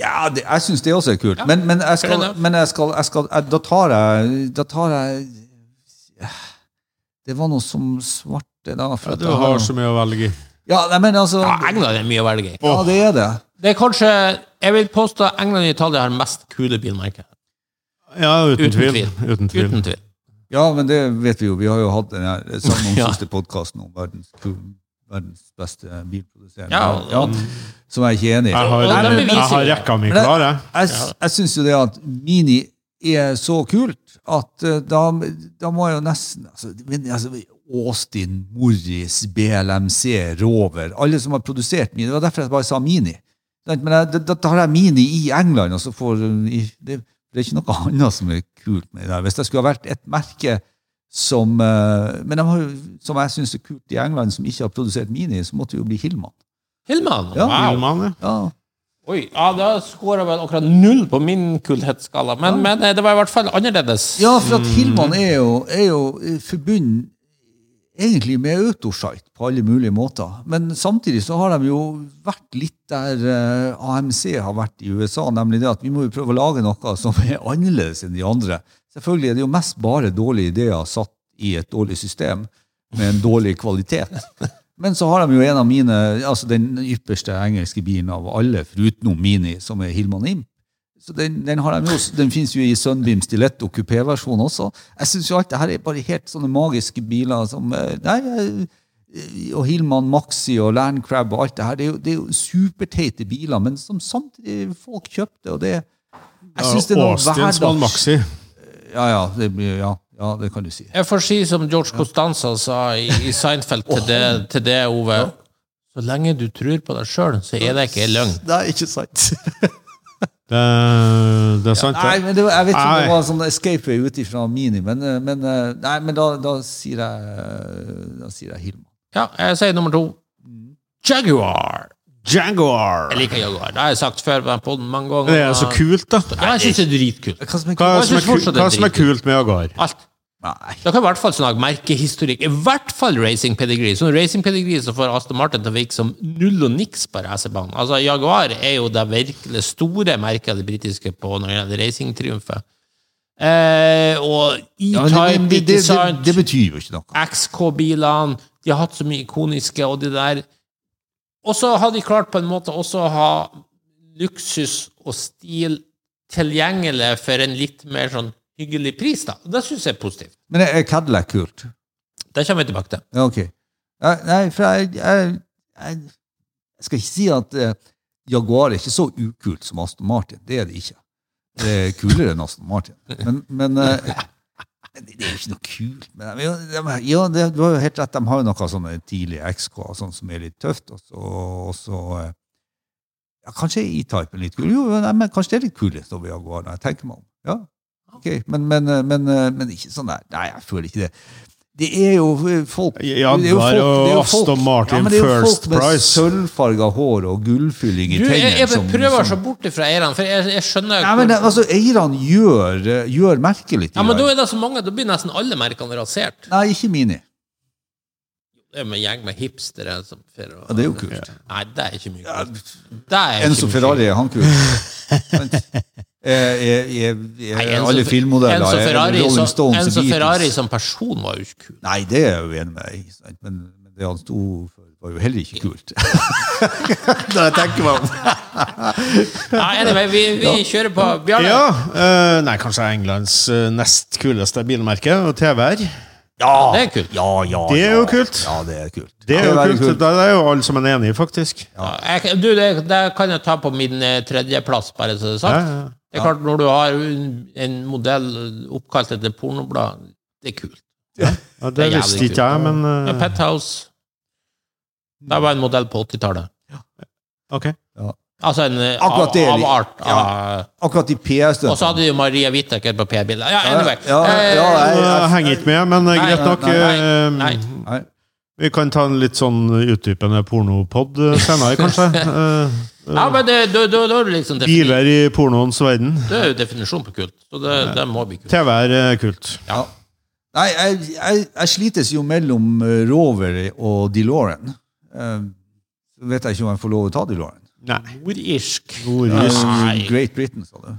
Ja, det, jeg syns det også er kult. Men, men, jeg skal, fair enough. men jeg skal, jeg skal jeg, Da tar jeg Da tar jeg Det var noe som svarte da. For at Du jeg har noe- så mye å velge i. Ja, nei, men altså Ja, Ja, England er mye å velge i. det er det. Det er kanskje Jeg vil påstå England og Italia har mest kule bilmerker. Ja, uten, Uten tvil. tvil. Uten tvil. Uten tvil. Ja, men det vet vi jo. Vi har jo hatt den her eh, sammen Ja. siste podkasten om verdens, verdens beste bilproduserende Ja, land, ja, Som jeg er ikke enig i. Jeg har, Og det beviser jeg har jo. rekka mi Men det- klar, jeg. Jeg, jeg syns jo det at Mini er så kult at eh, da, da må jeg jo nesten altså, men, altså, Austin, Morris, BLMC, Rover Alle som har produsert Mini. Det var derfor jeg bare sa Mini. Sant? Men jeg, da- da tar jeg Mini i England, og så får i, det, det er ikke noe annet som er kult med det. der. Hvis det skulle ha vært et merke som eh, men de har, jo- som jeg syns er kult i England, som ikke har produsert Mini, så måtte det jo bli Hillman. Hillman? Ja. Wow. Mann, ja. Ja. Oi, ja, da skåra vel akkurat null på min kulhetsskala, men, men eh, det var i hvert fall annerledes. Ja, for at Hillman er jo, er jo eh, forbundet egentlig med autosite på alle mulige måter. Men samtidig så har de jo vært litt der eh, AMC har vært i USA, nemlig det at vi må jo prøve å lage noe som er annerledes enn de andre. Selvfølgelig er det jo mest bare dårlige ideer satt i et dårlig system med en dårlig kvalitet. Men så har de jo en av mine, altså den ypperste engelske bilen av alle, forutenom Mini, som er Hillman Imp. Så den, den, har de jo, den finnes jo i Sunbeam Stiletto kupéversjon også. Jeg syns jo alt det her er bare helt sånne magiske biler som eh, Nei, eh, og Hillman Maxi og Landcrab og alt det her. Det er jo, det er jo superteite biler, men som samtidig folk kjøpte, og det Jeg syns det er noe Austins Mann hverdags... Maxi. Ja, ja, det, blir- ja, ja, det kan du si. Jeg får si som George Costanza sa i, i Seinfeld til det, til det Ove. Så lenge du tror på deg sjøl, så er det ikke løgn. Nei, ikke sant. Det, det er sant, Nei, det. men det, var- Jeg vet ikke om Nei. det var sånn escape way ut ifra Mini, men, eh, men, eh, nei, men da, da sier jeg Da sier jeg Hillman. Ja, jeg sier nummer to. Jaguar. Jaguar! Jeg liker Jaguar. Det har jeg sagt før på den podden mange ganger. Det er så kult, da. Ja, jeg syns det er dritkult. Hva som er Hva Jeg som er, synes ku- fortsatt det er hva som er dritkult. kult med Jaguar? Alt. Nei. Da kan i hvert fall snakke merkehistorikk. I hvert fall racing pedigree. Sånn racing pedigree som får Aston Martin til å virke som null og niks på racerbanen. Altså, Jaguar er jo det virkelig store merket av det britiske på når det gjelder racingtriumfer. Eh, og Ja, men E-Type, det, det, ikke det, det, sant? det betyr jo ikke noe. XK-bilene, de har hatt så mye ikoniske, og de der Og så har de klart på en måte også å ha luksus og stil tilgjengelig for en litt mer sånn hyggelig pris, da. Det syns jeg er positivt. Men er Cadillac kult? Det kommer vi tilbake til. Ja, ok. Ja, Nei, for jeg, jeg, jeg, jeg skal ikke si at eh, Jaguar er ikke så ukult som Aston Martin. Det er det ikke. Det er kulere enn Aston Martin. Men, men eh, men det er jo ikke noe kult. Men, de- de, ja, det, du har jo helt rett. De har jo noe sånne tidlige XK og sånn som er litt tøft. Og så, og så eh, ja, Kanskje er E-typen litt kul? Jo, nei, men kanskje det er litt kulest over Jaguar når jeg tenker meg om. Ja, ok. Men, men, eh, men, eh, men ikke sånn der. Nei, jeg føler ikke det. Det er jo eh, folk det er jo folk- Jaguar det er jo og folk- Aston Martin Ja, men det er jo folk first med price. Sølvfarga hår og gullfylling i Du, jeg, jeg tennene som- prøver som- så bort ifra eierne, for jeg, jeg skjønner Nei, men det- altså, Eierne gjør, eh, gjør merkelig til Ja, men da deg. er det så mange, da blir nesten alle merkene rasert. Nei, ikke Mini. Det er med en gjeng med hipstere som for å- Ja, det er jo kult. Nei, det er ikke mye kult. Det er ikke Enzo mye Ferrari kult. er han kul. Sant? Eh, er- er- er Nei, Enzo- alle filmmodeller Enzo er Ferrari Rolling som- Stones altså. og Enzo Beatles. Ferrari som person var jo ikke kul. Nei, det er jeg jo enig med deg i. sant? Men, men det han sto for, var jo heller ikke kult. Når jeg tenker meg om. Nei, anyway, vi, vi kjører på Bjarne. Ja, eh, nei, kanskje Englands eh, nest kuleste bilmerke, og TV-er. Ja, Det er kult. ja, ja. Det er ja. jo kult. Ja, det er kult. Det er jo veldig kult. Det er jo alle sammen enig i, faktisk. Jeg, du, det, det kan jeg ta på min eh, tredjeplass, bare så det er sagt. Ja, ja. Det er klart, når du har en, en modell oppkalt etter pornoblad, det er kult. Ja, det Det er visste jævlig ikke jeg, men Ja, eh, Penthouse. Det var en modell på 80-tallet. ok. Ja. Altså en eh, Akkurat det er av, litt- av art. av- Akkurat i Og så PS-støtten. hadde du Maria Whittaker på P-bildet. Ja, anyway. Ja, ja, ja, Eh, Nei, Jeg jeg- henger ikke med, men eh, Nei, greit nok. nei, eh, nei. Nei. Vi kan ta en litt sånn utdypende pornopod eh, senere, kanskje. Eh, ja, men det, da- da- da er det liksom defin- Biler i pornoens verden. det er jo definisjon på kult. Så det, det må bli kult. TV er eh, kult. Ja. Nei, jeg, jeg, jeg slites jo mellom eh, Rover og DeLorean. Eh, Så vet jeg ikke om jeg får lov å ta DeLorean. Nei. Nordirsk. Nordisk. Nei. Great Britain, sa du.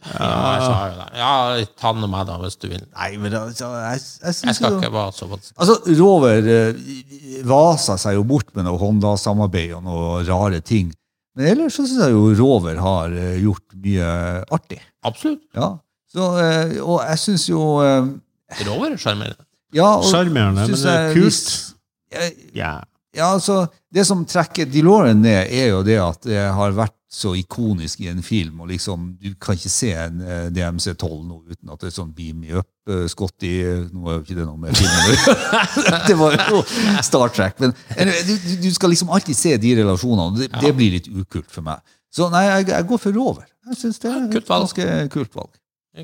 Ja, jeg sa jo det. Ja, ta den med meg, da, hvis du vil. Nei, men altså, jeg, jeg, synes Jeg skal jo- ikke være så vanskelig. Altså, Rover eh, vasa seg jo bort med noe Honda-samarbeid og noe rare ting. Men ellers så syns jeg jo Rover har eh, gjort mye artig. Absolutt. Ja. Så, eh, og jeg syns jo eh, Rover er sjarmerende. ja, og Sjarmerende, men synes det er jeg kult. vis- jeg- Ja. Ja, altså, Det som trekker DeLorean ned, er jo det at det har vært så ikonisk i en film. og liksom, Du kan ikke se en eh, DMC-12 nå uten at det er sånn beam me up, eh, Scotty eh, Nå er jo ikke det noe med filmen Det var jo Star Trek. Men anyway, du, du- du skal liksom alltid se de relasjonene, og det, det blir litt ukult for meg. Så nei, jeg, jeg går for Rover. Jeg synes det er Ja, kult et valg. ganske kult valg.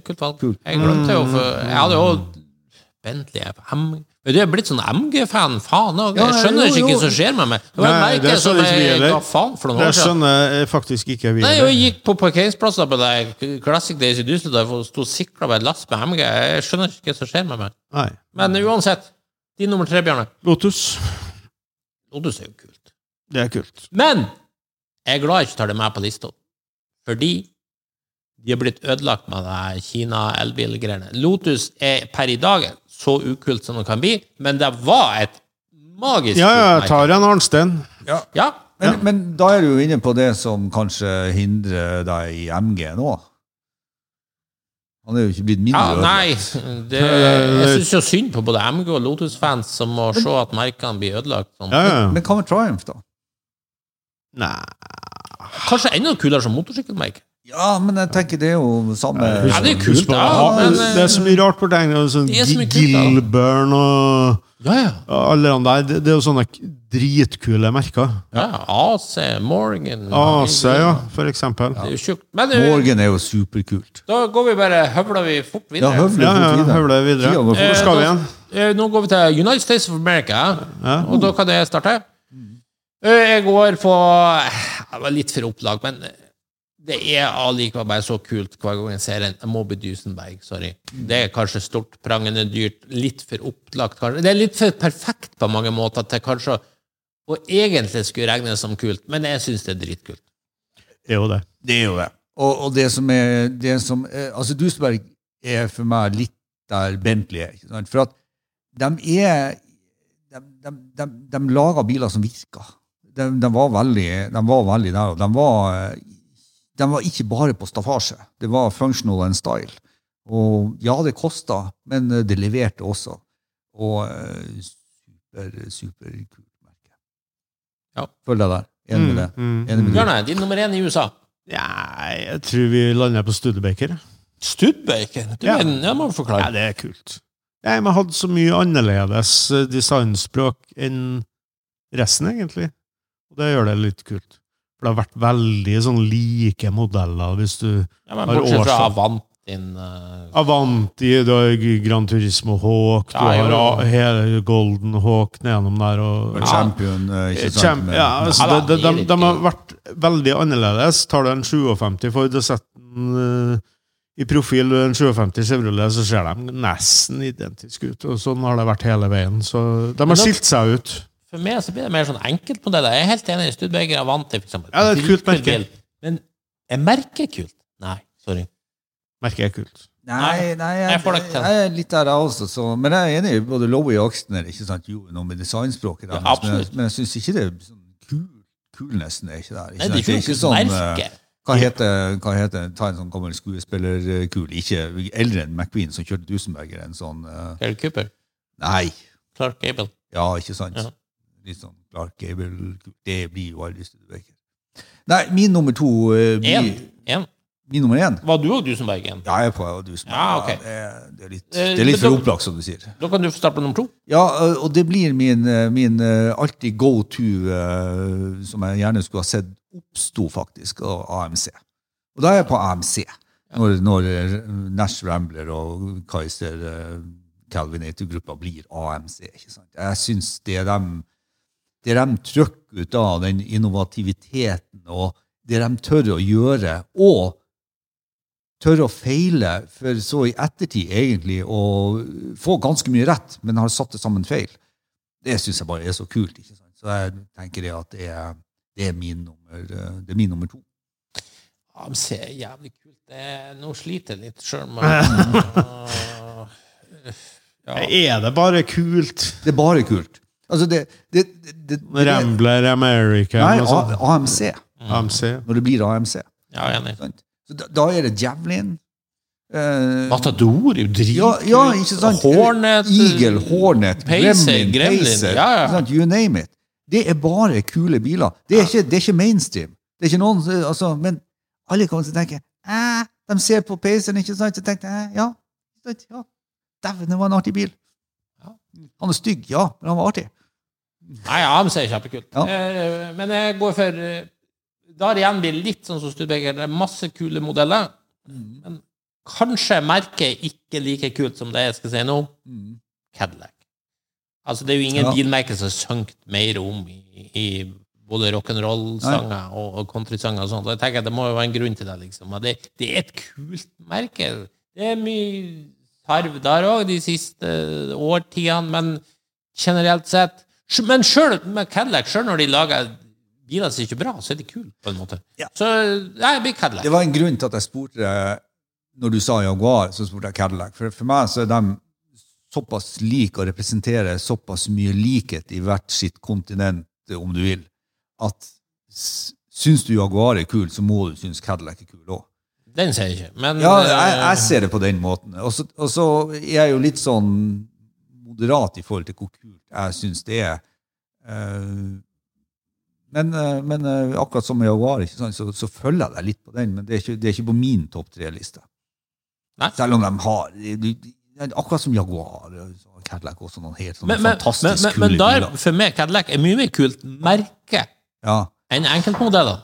Kult valg. Kult. Jeg glemte jo, for jeg hadde jo Bentley M... Men Du er blitt sånn MG-fan, faen òg. Ja, Jeg skjønner jo, ikke jo. hva som skjer med meg. Det var en Nei, det merke som skjønner ikke vi jeg heller. ga faen for noen Det år siden. skjønner jeg faktisk ikke. Nei, Videre. jeg gikk på parkeringsplasser på det Classic Days i Düsseldorf og sto sikla med et lass med MG. Jeg skjønner ikke hva som skjer med meg. Nei. Men uansett, din nummer tre, Bjarne. Lotus. Lotus er jo kult. Det er kult. Men jeg er glad jeg ikke tar det med på lista, fordi de er blitt ødelagt med det Kina-elbilgreiene. Lotus er per i dag så ukult som det kan bli, men det var et magisk Ja, ja, kult jeg tar en Arnstein. merke. Ja, Men, men da er du jo inne på det som kanskje hindrer deg i MG nå. Han er jo ikke blitt ja, mindre nei det, Jeg syns jo synd på både MG og Lotus-fans som må se at merkene blir ødelagt. Sånn. Ja, ja. Men hva med Triumph, da? Nei. Kanskje enda kulere som motorsykkelmerke. Ja, men jeg tenker det er jo samme Ja, det er kult, Husk på- ja, ja, men, eh, det er så mye rart på det. det er Sånn Det er så mye kult, da. Gilburn og Ja, ja. alle de der. Det, det er jo sånne k- dritkule merker. ja AC, Morgan AC, ja, for eksempel. Det er jo tjukt. Men eh, Morgan er jo superkult. da går vi bare høvler vi fort Ja, videre. høvler Ja, ja, fort videre. høvler videre. Tida går Hvor fort. Eh, da- skal vi igjen? Eh, Nå går vi til United States of America, Ja. og da kan jeg starte. Eh, Jeg går på Jeg var litt for opplag, men det er allikevel bare så kult hver gang jeg ser en Moby Dusenberg. Sorry. Det er kanskje stort, prangende dyrt, litt for opplagt, kanskje. Det er litt for perfekt på mange måter til kanskje å- å egentlig skulle regnes som kult, men jeg syns det er dritkult. Det er jo det. Det er jo det. Og, og det som er, det som er Altså, Dusberg er for meg litt der Bentley er. ikke sant? For at de er De, de, de, de lager biler som virker. De, de, var veldig, de var veldig der. og De var, de var ikke bare på staffasje. Det var functional and style. Og ja, det kosta, men det leverte også. Og eh, super, superkult merke. Ja. Mm. Følg deg der. Enig Mm, med det. Enig med det. Bjørne, din nummer én i USA. Ja, jeg tror vi lander på Studebaker. Studbaker? Ja. Det må du Ja, forklare. det er kult. Nei, men Jeg hadde så mye annerledes eh, designspråk enn resten, egentlig. Og det gjør det litt kult. For det har vært veldig sånn like modeller, hvis du Ja, men Har bortsett fra årsak. Avant din eh, Avanti, du har Grand Turismo Hawk, du Ja, jo. har A- hele Golden Hawk nedom der og Og Champion, eh, ikke sant? Kjem- men- ja, altså, Ja, de, da, de, det er de, de har riktig. vært veldig annerledes. Tar du en 57 Ford og setter den eh, i profil, en 57 Chevrolet, så ser de nesten identiske ut. og Sånn har det vært hele veien. Så de Men har da- skilt seg ut. For meg så blir det mer sånn enkeltmodeller. Jeg er helt enig i Studbeger og Avanti, for eksempel. Ja, det er et kult merke. Bil. Men er merket kult? Nei, sorry. Merker jeg kult. Nei, nei, jeg, jeg får det ikke til. jeg er litt der jeg også, så, men jeg er enig i både Lowie og Aksner ikke sant, gjorde noe med designspråket. Ja, deres, men, absolutt. jeg- men jeg syns ikke det er sånn kul, kulnessen er ikke der. Ikke Nei, det sant? er ikke noe sånn, eh, merke. hva heter, hva heter ta en sånn gammel skuespillerkul, ikke eldre enn McQueen som kjørte Dusenberger, en sånn eh, Gary Cooper. Nei, Clark Gable. ja, ikke sant? Ja. Litt sånn Clark Gable, det blir jo aldri Studebaker. Nei, min nummer to eh, Én. blir Én. Min nummer én? Var du og Dusenberg én? Ja, jeg er på Dusenberger. Ja, ok. Ja, det, det er litt, Eh, det er litt men for da- opplagt, som du sier. Da kan du få starte på nummer to. Ja, eh, ø, eh, og det blir min, ø, min ø, alltid go to, ø, som eh, jeg gjerne skulle ha sett oppsto faktisk av AMC. Og da er jeg på AMC. Når, når eh, Nash Rambler og Kaiser eh, Calvinator-gruppa blir AMC. ikke sant? Jeg syns det de det de trykker ut av den innovativiteten og det de tør å gjøre, og tør å feile, for så i ettertid egentlig å få ganske mye rett, men har satt det sammen feil, det syns jeg bare er så kult. ikke sant? Så jeg tenker det at det er, det er, min, nummer, eh, det er min nummer to. AMC er jævlig kult. Det, er- nå sliter jeg litt sjøl med Åh, Er det bare kult? Det er bare kult. Altså, det, det, det, det, det, det Rambler American Nei, og A- sånn. AMC. AMC. Når det blir AMC. Ja, jeg er enig. Sant? Så da, da er det Javelin. eh, Matador er jo Ja, dritkult. ja, ikke sant? Hornet Eagle, Hornet, Pacer, Gremlin, Gremlin, Pacer, ja, ja. ikke sant? you name it. Det er bare kule biler. Det er ikke, det er ikke mainstream. Det er ikke noen, som- altså, men alle kommer til å tenke «Æ, De ser på Paceren, ikke sant? Så tenkte jeg ja, ikke sant? ja. Dæven, det var en artig bil. Ja. Han er stygg, ja, men han var artig. Nei, ja, AMC er kjempekult. Ja. Eh, Men jeg går for eh, Da har det igjen blitt litt sånn som Studebaker. Det er masse kule modeller. Men kanskje merket er ikke like kult som det jeg skal si nå. Mm. Cadillac. Altså, det er jo ingen Ja. bilmerker som har sunket mer om i, i både rock'n'roll-sanger og, og countrysanger og sånt. Og jeg tenker at det må jo være en grunn til det, liksom. Og det, det er et kult merke. Det er mye tarv der òg de siste årtidene, men generelt sett Sj- Men sjøl med Cadillac, sjøl når de lager biler som ikke er bra, så er de kule, på en måte. Ja. Så nei, det blir Cadillac. Det var en grunn til at jeg spurte deg når du sa Jaguar, så spurte jeg Cadillac. For, for meg så er de såpass like og representerer såpass mye likhet i hvert sitt kontinent, om du vil, at s- syns du Jaguar er kul, så må du synes Cadillac er kul òg. Den ser jeg ikke, men eh, Ja, jeg, jeg ser det på den måten. Og så og så er jeg jo litt sånn moderat i forhold til hvor kult jeg syns det er. Eh, Men, eh, men eh, akkurat som med Jaguar, ikke sant, så, så følger jeg deg litt på den. Men det er ikke, det er ikke på min topp tre-liste. Nei. Selv om de har du- du- Akkurat som Jaguar så har Cadillac også noen helt sånne men, men, men, fantastisk men, kule men der, biler. for meg, Cadillac er mye mer kult merke Ja. enn enkeltmodeller.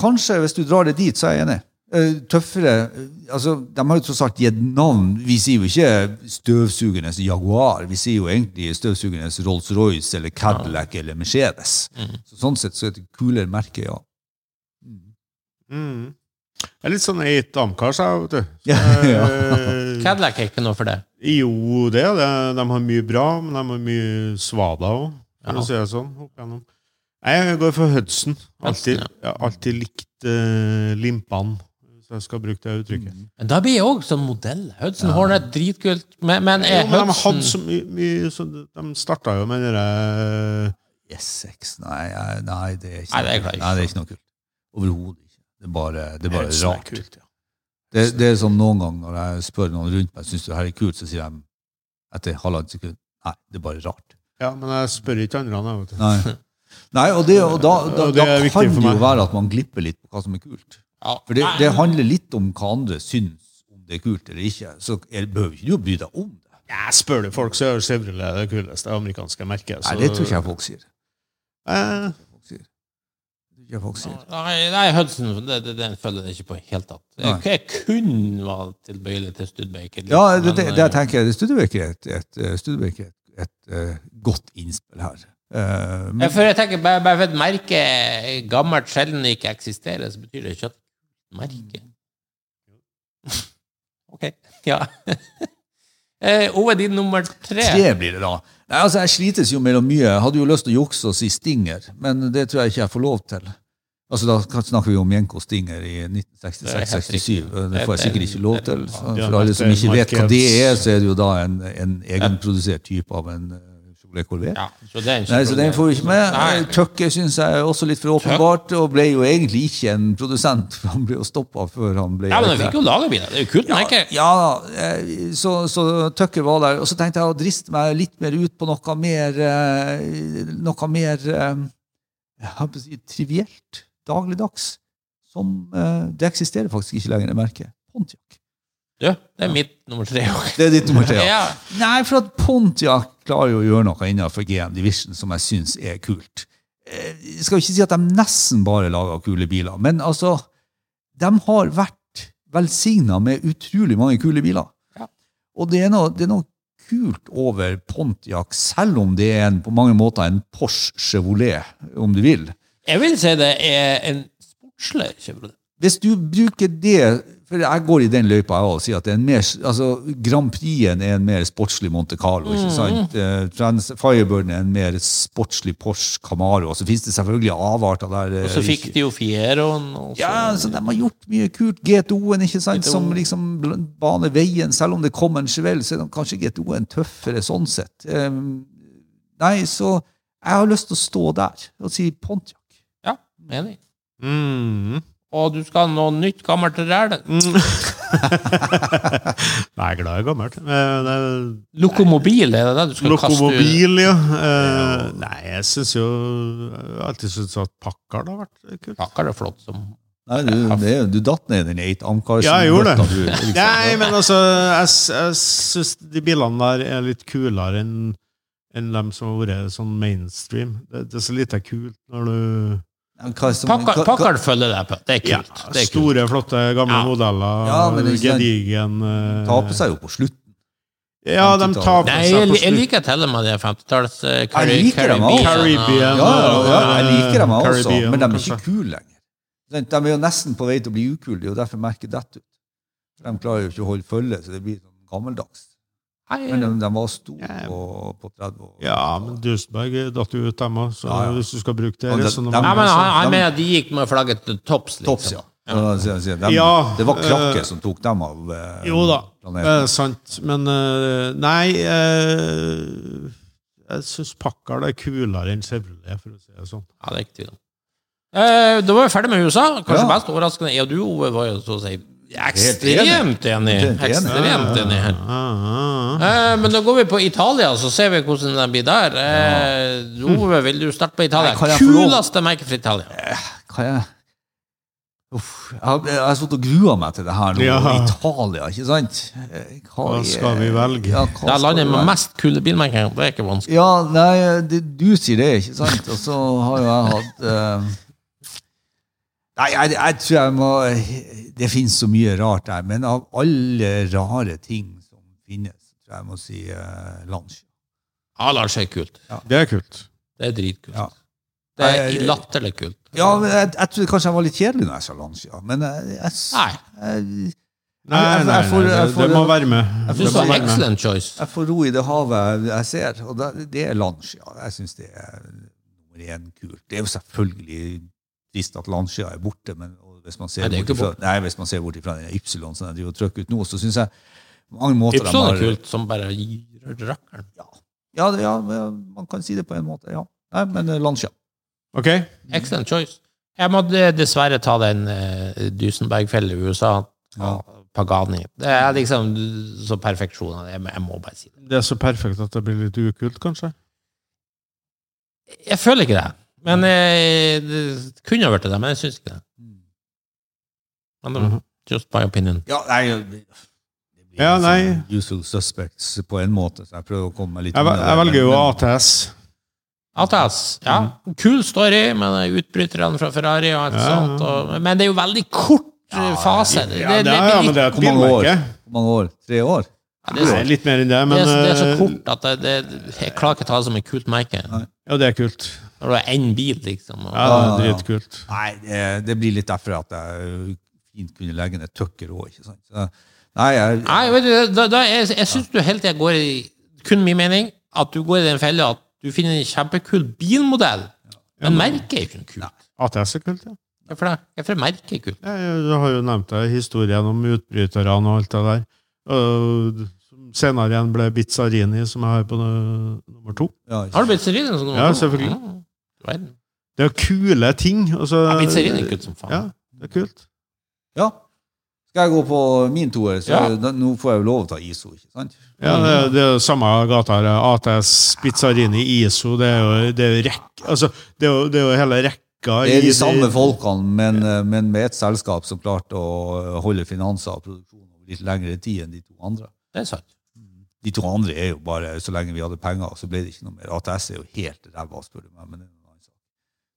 Kanskje, hvis du drar det dit, så er jeg enig. Eh, Tøffere eh, altså, De har jo tross alt gitt navn. Vi sier jo ikke støvsugernes Jaguar. Vi sier jo egentlig støvsugernes Rolls-Royce eller Cadillac eller Mercedes. Så, sånn sett så er det et kulere merke, ja. Mm. Jeg er litt sånn eight amkar, sa jeg, vet du. Så, Ja, ja. eh, Cadillac er ikke noe for det. Jo, det er det. De har mye bra, men de har mye svada òg, Ja. for å si det sånn. opp igjennom. Nei, Jeg går for Hudson. Alltid, Hudson, jeg har alltid likt uh, limpene, hvis jeg skal bruke det uttrykket. Men da blir jeg òg som modell. Hudson Hornet, dritkult. Men, men Jo, er men de Hudson hadde så mye, mye så De starta jo med eh, den derre S6 nei, jeg- nei, det er Nei, det ikke noe klarer jeg kult. ikke. Nei, det er ikke noe kult. Overhodet ikke. Det er bare, det er bare Hudson er rart. kult, ja. Det, det er som noen ganger når jeg spør noen rundt meg syns du det her er kult, så sier de etter halvannet sekund nei, det er bare rart. ja, men jeg spør ikke andre. da, vet du. Nei. Nei, og, det, og da, da, Og det da er viktig kan for det jo meg. være at man glipper litt på hva som er kult. Ja. For det, Nei, det handler litt om hva andre syns, om det er kult eller ikke. Så er, behøver ikke du å bry deg om det. Jeg spør du folk, så er jo Chevrolet det kuleste amerikanske merket. Nei, det tror ikke jeg folk sier. Eh, Folk sier. Det tror ikke jeg folk sier. Nei, nei, Hudson det, det, den følger jeg ikke på i det hele tatt. Jeg, Nei. jeg kun var tilbøyelig til Studbaker. Ja, det, det, det jeg tenker jeg, Studebaker er et, et, eh, Studebaker er et, et eh, godt innspill her. Eh, men, For jeg tenker, bare, bare for et merke er gammelt sjelden ikke eksisterer, så betyr det ikke at merke Ok. Ja. Eh, Ove, din nummer tre. Tre blir det da. Nei, altså, Jeg slites jo mellom mye. Jeg hadde jo lyst til å jukse og si Stinger, men det tror jeg ikke jeg får lov til. Altså, Da kan- snakker vi om Jenko Stinger i Det er helt 1966-67. riktig. Det får jeg sikkert ikke lov til. Så Ja, For alle som ikke vet hva det er, så er det jo da en, en egenprodusert type av en eh, Chevrolet Corvette. Ja, så det er en Nei, så Den får vi ikke Nei. med. Tucker syns jeg er også litt for åpenbart, og ble jo egentlig ikke en produsent. for Han ble jo stoppa før han ble Ja, men de fikk jo laga biler. Det er jo kult, merke. ja, eh, så, så Tucker var der. Og så tenkte jeg å driste meg litt mer ut på noe mer eh, Noe mer eh, jeg holdt på å si, trivielt, dagligdags, som eh, Det eksisterer faktisk ikke lenger, det merket. Pontiac. Du, det er mitt nummer tre òg. Det er ditt nummer tre, ja. Ja. Nei, for at Pontiac klarer jo å gjøre noe innenfor GM Division som jeg syns er kult. eh, Jeg skal ikke si at de nesten bare lager kule biler, men altså De har vært velsigna med utrolig mange kule biler. Ja. Og det er, noe, det er noe kult over Pontiac, selv om det er en, på mange måter en Porsche Chevrolet, om du vil. Jeg vil si det er en sportslig Chevrolet. Hvis du bruker det For jeg går i den løypa jeg også, og sier at det er en mer, altså, Grand Prix-en er en mer sportslig Monte Carlo. ikke sant? Eh, Trans Firebirden er en mer sportslig Porsche Camaro. Og så finnes det selvfølgelig avarter der. eh, Og så fikk ikke- de jo Fieroen. og så- ja, så De har gjort mye kult. GTO-en, ikke sant, som liksom bl- baner veien. Selv om det kommer en Chevelle, så er den kanskje GTO-en tøffere sånn sett. Eh, nei, så jeg har lyst til å stå der og si Pontiac. ja menig. Mm. Og du skal ha noe nytt, gammelt ræl. Mm. Nei, jeg er glad i gammelt. Eh, det er Lokomobil, er det det du skal kaste ut? Lokomobil, ja. Eh, nei, jeg syns jo Jeg har alltid syntes at Packard har vært kult. Pakker er flott som Nei, du, det, er- du datt ned i den Eight Amcarsen. Ja, jeg gjorde det. Du, liksom. Nei, men altså, jeg, s- jeg syns de bilene der er litt kulere enn enn dem som har vært sånn mainstream. Det, det er så lite kult når du Hva som- hva- Packard hva- Packard følger deg på. Det er ja, kult. Det er kult. Store, flotte, gamle Ja. modeller. Ja, men det er ikke sant. gedigen eh, taper seg jo på slutten. Ja, de taper Nei, seg jeg, på li- jeg slutt. liker til og med de 50-talls eh, Jeg liker dem også. Ja, Caribbean. ja, ja, jeg liker dem jeg også, Caribbean, men de er kanskje. ikke kule lenger. Sant, De er jo nesten på vei til å bli ukule, det er jo derfor merket dette ut. De klarer jo ikke å holde følge, så det blir sånn gammeldags. Men Nei, de, de var store Ja. på, på 30 år. Ja, men Duesberg datt jo ut, dem òg, så Ja, ja. hvis du skal bruke det Ja, de- resonnementet Nei, men han, han Dem- mener at de gikk med flagget til topps. Liksom. Tops, ja. Så- så- så- de- Ja, det var eh, Krakke som tok dem av eh, Jo da, det planeten. er sant. Men eh, nei eh, Jeg syns Packard er kulere enn Chevrolet, for å si det sånn. Ja, det er ikke tvil om. Eh, da var vi ferdig med USA. Kanskje Ja. mest overraskende Jeg og du, Ove, var jo så å si Helt ekstremt enig. Helt enig. Ekstremt enig her. Ah, ah, ah. Eh, men da går vi på Italia, så ser vi hvordan den blir der. Eh, Ove, vil du starte på Italia? Mm. Nei, kan jeg få lov? Kuleste merket for Italia. Eh. Hva er Uff, jeg har, jeg har sittet og grua meg til det her nå. Ja. Italia, ikke sant? Eh, Hva er- skal vi velge? Ja, hva Det er skal landet vi med velge? mest kule bilmerker. Det er ikke vanskelig. Ja, nei, det, du sier det, ikke sant? Og så har jo jeg hatt eh, Nei, jeg, jeg tror jeg må Det finnes så mye rart der, men av alle rare ting som finnes, tror jeg jeg må si uh, Lange. Ja, Lars er kult. Det er kult. Det er dritkult. Ja. Det er Nei, latterlig kult. Ja, men jeg, jeg tror kanskje jeg var litt kjedelig når jeg sa Lange, ja. men eh, jeg, jeg, Nei, jeg, Nei, Jeg- jeg- jeg nei, får- nei det, jeg får- det må være med. jeg du får- Det må sa var være med. excellent choice. jeg får ro i det havet jeg ser, og det, det er Lange, ja. Jeg syns det er nummer én kult. Det er jo selvfølgelig trist at Lancia er borte, men og hvis man ser Nei, det er bort ikke ifra, nei, hvis man ser bort ifra den Ypsilon som jeg driver og trykker ut nå, så syns jeg på mange måter de Ypsilon har- er kult, som bare gir rakkeren. Ja. Ja, det- ja, man kan si det på en måte, ja. Nei, men eh, Lancia. Ok? Excellent choice. Jeg måtte dessverre ta den uh, Dusenberg-fella i USA. Ja. Pagani. Det er liksom så perfeksjon. av det. Jeg, jeg må bare si det. Det er så perfekt at det blir litt ukult, kanskje. Jeg føler ikke det. Men eh, det kunne ha vært det, men jeg syns ikke det. Men, det- Mhm. Just by opinion. Ja, nei det blir Ja, liksom nei. Usual suspects på en måte, så jeg prøver å komme meg litt Jeg, vel- unna det, jeg velger jo men- ATS. ATS. Ja, Mm. kul story, men utbryterne fra Ferrari og alt Ja, ja. sånt. Og, men det er jo veldig kort eh, fase. Det, Ja, det, det det, er, ja, men blir litt, det er et Hvor mange år? bilmerke. Hvor mange år? Tre år? ja, det, er, Nei, så- litt mer enn det, det, men er, så- det er så eh, kort at det, det, jeg klarer ikke å ta det som et kult merke. Ja, det er kult. Når det er én bil, liksom. Og, Ja, det er dritkult. Nei, det, det blir litt derfor at jeg fint kunne legge ned tøkker òg, ikke sant. Så, nei, jeg, Nei, vet du, da, da, jeg, jeg syns du hele tida går i kun min mening, at du går i den fella at du finner en kjempekul bilmodell, men merket er ikke noe kult. ATS er kult, ja. Hvorfor det? Hvorfor er merket er kult? Ja, Jeg jeg har jo nevnt deg historien om utbryterne og alt det der. Og som senere igjen ble Bizzarini, som jeg har på nu- nummer to. ja, ikke Har du Bizzerino som nummer Ja, to? selvfølgelig. Mm, du verden. Det er kule ting. Altså, Ja, Bizzerino er kult som faen. Ja, det er kult. Ja. Skal jeg gå på min toer, så Ja. da, nå får jeg jo lov å ta ISO, ikke sant? Ja, det, er- det er samme gata her. ATS, Bizzarini, ISO. Det er jo, det er jo rekk... Altså, det er jo, det er jo hele rekka Det er i- de samme folkene, men, eh, men med et selskap som klarte å holde finanser og produksjon over litt lengre tid enn de to andre. Det er sant. De to andre er jo bare så lenge vi hadde penger, så ble det ikke noe mer. ATS er jo helt ræva, spør du meg. Men det er noe annet.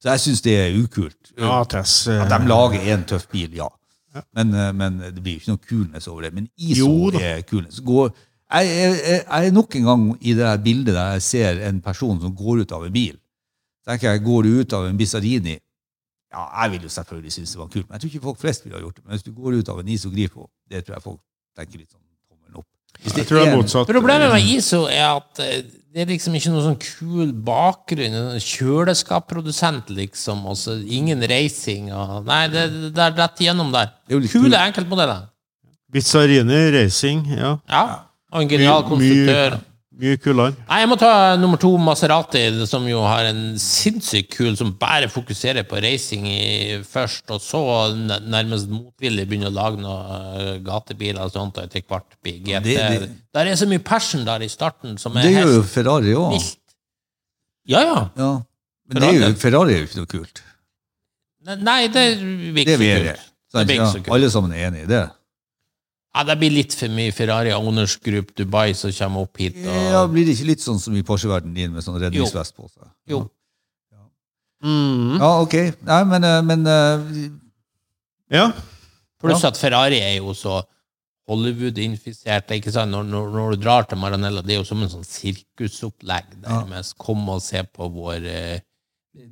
Så jeg syns det er ukult. Ja, Tess. At de lager en tøff bil, ja. Men, eh, men det blir jo ikke noe kulnes over det. Men Jo ISO da. er kulnes. Går, jeg, jeg, jeg, jeg er nok en gang i det her bildet der jeg ser en person som går ut av en bil. Tenker jeg, Går du ut av en Bizarini Ja, jeg vil jo selvfølgelig synes det var kult, men jeg tror ikke folk flest ville ha gjort det. Men hvis du går ut av en ISO Grifo, det tror jeg folk tenker litt sånn tommelen opp. Hvis Jeg tror det er en- motsatt. Problemet med ISO er at eh, det er liksom ikke noe sånn kul bakgrunn. en Kjøleskapprodusent, liksom. Og så ingen racing og Nei, det, det er rett igjennom der. Det er jo litt Kule kul. enkeltmodeller. Bizzarini Racing, ja. Ja. Og en genial Mye- konstruktør. Mye kulere. Nei, jeg må ta nummer to, Maserati, som jo har en sinnssykt kul som bare fokuserer på racing i, først, og så n- nærmest motvillig begynner å lage noen eh, gatebiler og sånt, og etter hvert blir GT. Det- det- Der er så mye passion der i starten som er Det gjør helt jo Ferrari òg. vilt. Ja, ja. Ja. Men det er jo, Ferrari. Ferrari er jo ikke noe kult. Ne- Nei, det blir Det ikke er vi så enige Sånn, kult. Det blir Ja, ikke så kult. alle sammen er enige i det. Ja, det blir litt for mye Ferrari Owners Group Dubai som kommer opp hit. Ja, Og... Blir det ikke litt sånn som i Porsche-verdenen din, med sånn redningsvest på seg? Jo. Mm. Ja, ok. Nei, men, eh, men eh, Ja. Pluss at Ferrari er jo så Hollywood-infisert. ikke sant? Når, når, når du drar til Maranella, det er jo som en sånn sirkusopplegg. der Ja. med Kom og se på vår eh,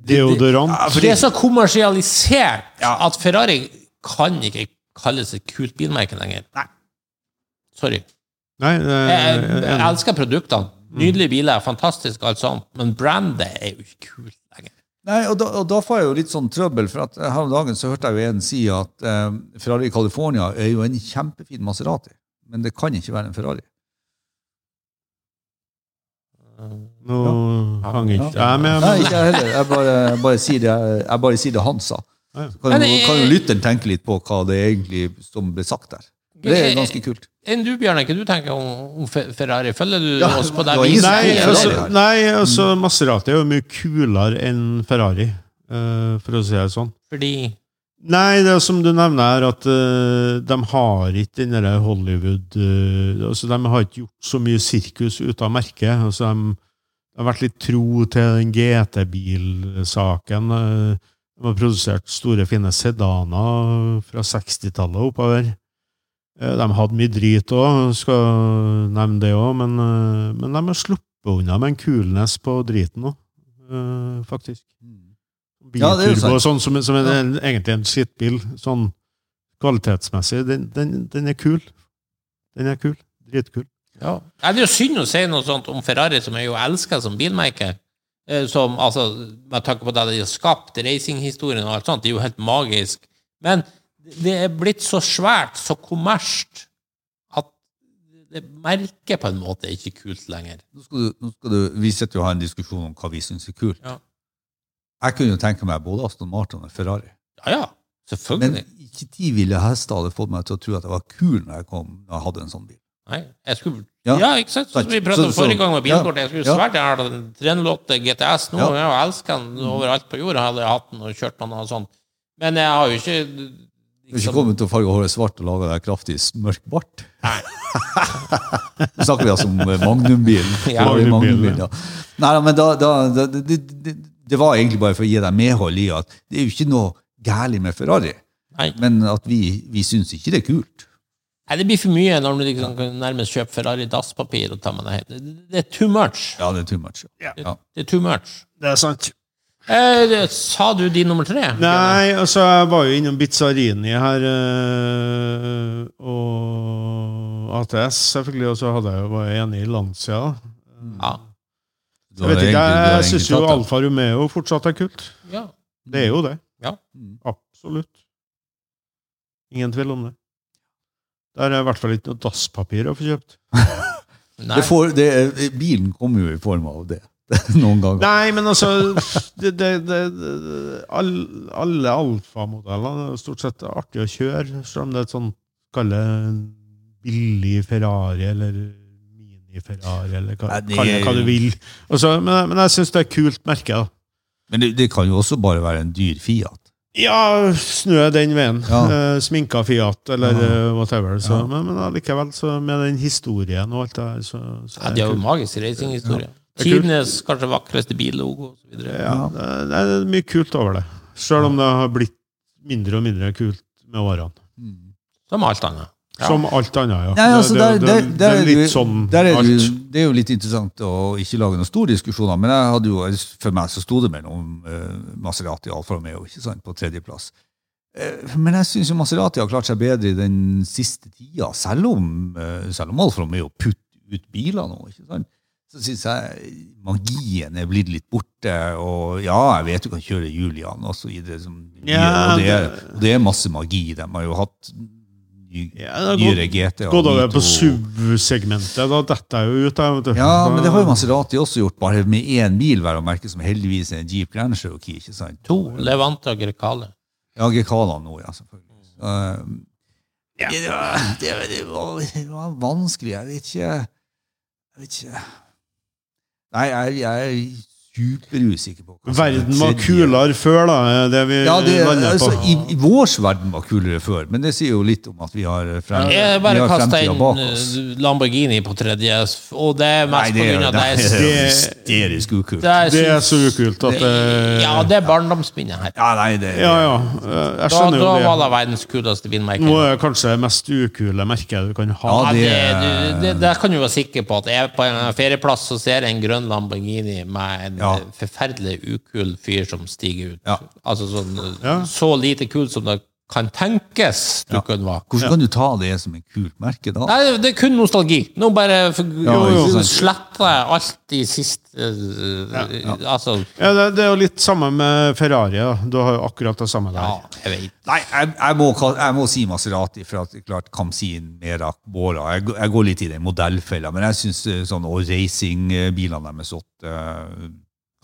Deodorant. For det er så kommersialisert at Ferrari kan ikke kalles et kult bilmerke lenger. Nei. Sorry. Nei, det Jeg, er jeg, jeg elsker produktene. Nydelige biler, fantastisk alt sånt, men brandet er jo ikke kult lenger. Nei, og da, og da får jeg jo litt sånn trøbbel, for at her om dagen så hørte jeg jo en si at eh, Ferrari California er jo en kjempefin Maserati, men det kan ikke være en Ferrari. Nå hang ikke jeg med. Nei, men- ikke jeg heller. Jeg bare, jeg bare, sier, det, jeg, jeg bare sier det han sa. Ja. Så kan, jo- Men, eh, kan jo lytteren tenke litt på hva det egentlig som ble sagt der. Det eh, er ganske kult. Enn du, Bjørn, ikke du tenker om, om Fe- Ferrari? Følger du Ja, oss på det den var ingen som Nei, Nei, altså, Ferrari her. nei, altså Maserati er jo mye kulere enn Ferrari, eh, for å si det sånn. Fordi Nei, det er som du nevner her, at eh, de har ikke den derre Hollywood eh, altså De har ikke gjort så mye sirkus ut av merket. altså De de har vært litt tro til den GT-bilsaken. eh, De har produsert store, fine sedaner fra 60-tallet og oppover. Eh, De hadde mye drit òg, skal nevne det òg, men, eh, men de har sluppet unna med en coolness på driten òg, faktisk. Mm. Ja, det er jo Bilturbo og sånn, som, som en, en, egentlig en skittbil. Sånn kvalitetsmessig. Den, den, den er kul. Den er kul. Dritkul. Ja. Nei, Det er jo synd å si noe sånt om Ferrari, som jeg jo elsker som bilmerke. Eh, Som, altså, Med tanke på det de har skapt, racinghistorien og alt sånt, det er jo helt magisk. Men det er blitt så svært, så kommersielt, at det merket på en måte er ikke kult lenger. Nå skal du, nå skal du, vi sitter jo og har en diskusjon om hva vi syns er kult. Ja. Jeg kunne jo tenke meg både Aston Martin og Ferrari. Ja ja, Men selvfølgelig. ikke de ville hester hadde fått meg til å tro at jeg var kul når jeg kom når jeg hadde en sånn bil. Nei, jeg skulle, ja. Ja. ikke sant? Som vi pratet Så- om så- forrige gang med ja. bilkort. Jeg skulle Ja. svært gjerne hatt en 308 GTS nå. Ja. Jeg elsker den overalt på jorda. Hadde jeg hatt den og kjørt den og sånn. Men jeg har jo ikke Du har ikke liksom- kommet til å farge håret svart og lage deg kraftig mørk bart? Nå snakker vi altså om Magnum-bilen. Ja. Ferrari Magnum-bilen, ja. Nei, nei, men da, da, da det, det, det, det var egentlig bare for å gi deg medhold i at det er jo ikke noe gærlig med Ferrari, Nei. men at vi, vi syns ikke det er kult. Nei, det blir for mye når du liksom kan nærmest kjøpe Ferrari dasspapir og ta med det hjem. Det- Det er too much. Ja, det er too much. Ja. Ja. Det er too much. Det er sant. Eh, det- sa du din nummer tre? Nei, altså, jeg var jo innom Bizzarini her, eh, og ATS, selvfølgelig, og så hadde jeg jo var jeg enig i Lancia. Ja. Du har Jeg vet ikke, egentlig- du har jeg egentlig syns jo tatt det. Alfa Romeo fortsatt er kult. ja. Det er jo det. Ja. Mm. Absolutt. Ingen tvil om det. Der er i hvert fall ikke noe dasspapir å få kjøpt. Nei. det får, det, er- Bilen kommer jo i form av det noen ganger. Nei, men altså det, det, det, det, all, Alle alfamodellene er stort sett artig å kjøre, selv om det er et sånn kalle billig Ferrari eller mini-Ferrari, eller hva, Nei, det kalle det hva er du jo- vil. Altså, men, men jeg syns det er et kult merke. da. Men det, det kan jo også bare være en dyr Fiat. Ja, snø den veien. Ja. Eh, sminka Fiat eller Ja. eh, whatever. Så, Ja. Men, men allikevel, så med den historien og alt det der, så, så Ja, er det er jo kult. en magisk racinghistorie. er kult. Tidenes kanskje vakreste billogo og så videre. Ja, det er, det er mye kult over det. Selv om det har blitt mindre og mindre kult med årene. Mm. Som alt annet. Ja. Som alt annet, ja. Nei, altså, det, der, det, der, det, der er er litt du- sånn der er alt. du, det er jo litt interessant å ikke lage noen store diskusjoner, men jeg hadde jo, for meg så sto det mellom eh, Maserati og Alfa Romeo ikke sant, på tredjeplass. Eh, men jeg syns Maserati har klart seg bedre i den siste tida, selv om, eh, selv om Alfa Romeo putter ut biler nå. ikke sant? Så syns jeg magien er blitt litt borte, og ja, jeg vet du kan kjøre Julian og så videre. Som, Ja, og, det er, det- og det er masse magi. De har jo hatt ny, Ja, det har nyere GT. og Gått over Vito. på SUV-segmentet, da detter jeg jo ut. Jeg, vet du. Ja, men det har jo Maserati også gjort, bare med én bil, vel å merke, som heldigvis er en Jeep Grand Cherokee. ikke sant? To Levante og Grecale. Ja, Grekala nå, ja, selvfølgelig. Um, det, var, det, var, det, var, det var vanskelig, jeg vet ikke Jeg vet ikke Nei, jeg, jeg er superusikker på hva som er Verden var tredje. kulere før, da. er Det vi Ja, det, lander altså, på. i, I vår verden var kulere før, men det sier jo litt om at vi har frem, vi Jeg bare har kasta fremtida inn bak oss. eh, Lamborghini på tredje, og det er Nei, mest det på er grunn av det at er jeg- jo Det- hysterisk ukult. det er- Det er så ukult at eh, Ja, det er barndomsminnet her. Ja, nei, det Ja, ja. eh, Jeg Da, skjønner da jo var det. det verdens kuleste bilmerke. Nå er det kanskje det mest ukule merket du kan ha. Ja, Ja, det- det, du, det, der kan du være sikker på at jeg på en ferieplass så ser jeg en grønn Lamborghini med en Ja. eh, forferdelig ukul fyr som stiger ut. Ja. Altså sånn, eh, Ja. Så lite kul som det kan tenkes du kunne være. Hvordan kan du ta det som et kult merke, da? Nei, det er kun nostalgi. Nå bare for, ikke sant. sletter jeg alt i siste eh, Altså Ja, det, det er jo litt samme med Ferrari. Da. Du har jo akkurat det samme Ja, der. jeg vet. Nei, jeg, jeg, må, ka- jeg må si Maserati, for at klart Kamsin, Merak, Bora jeg, g- jeg går litt i den modellfella, men jeg syns sånn Og racingbilene deres åtte eh,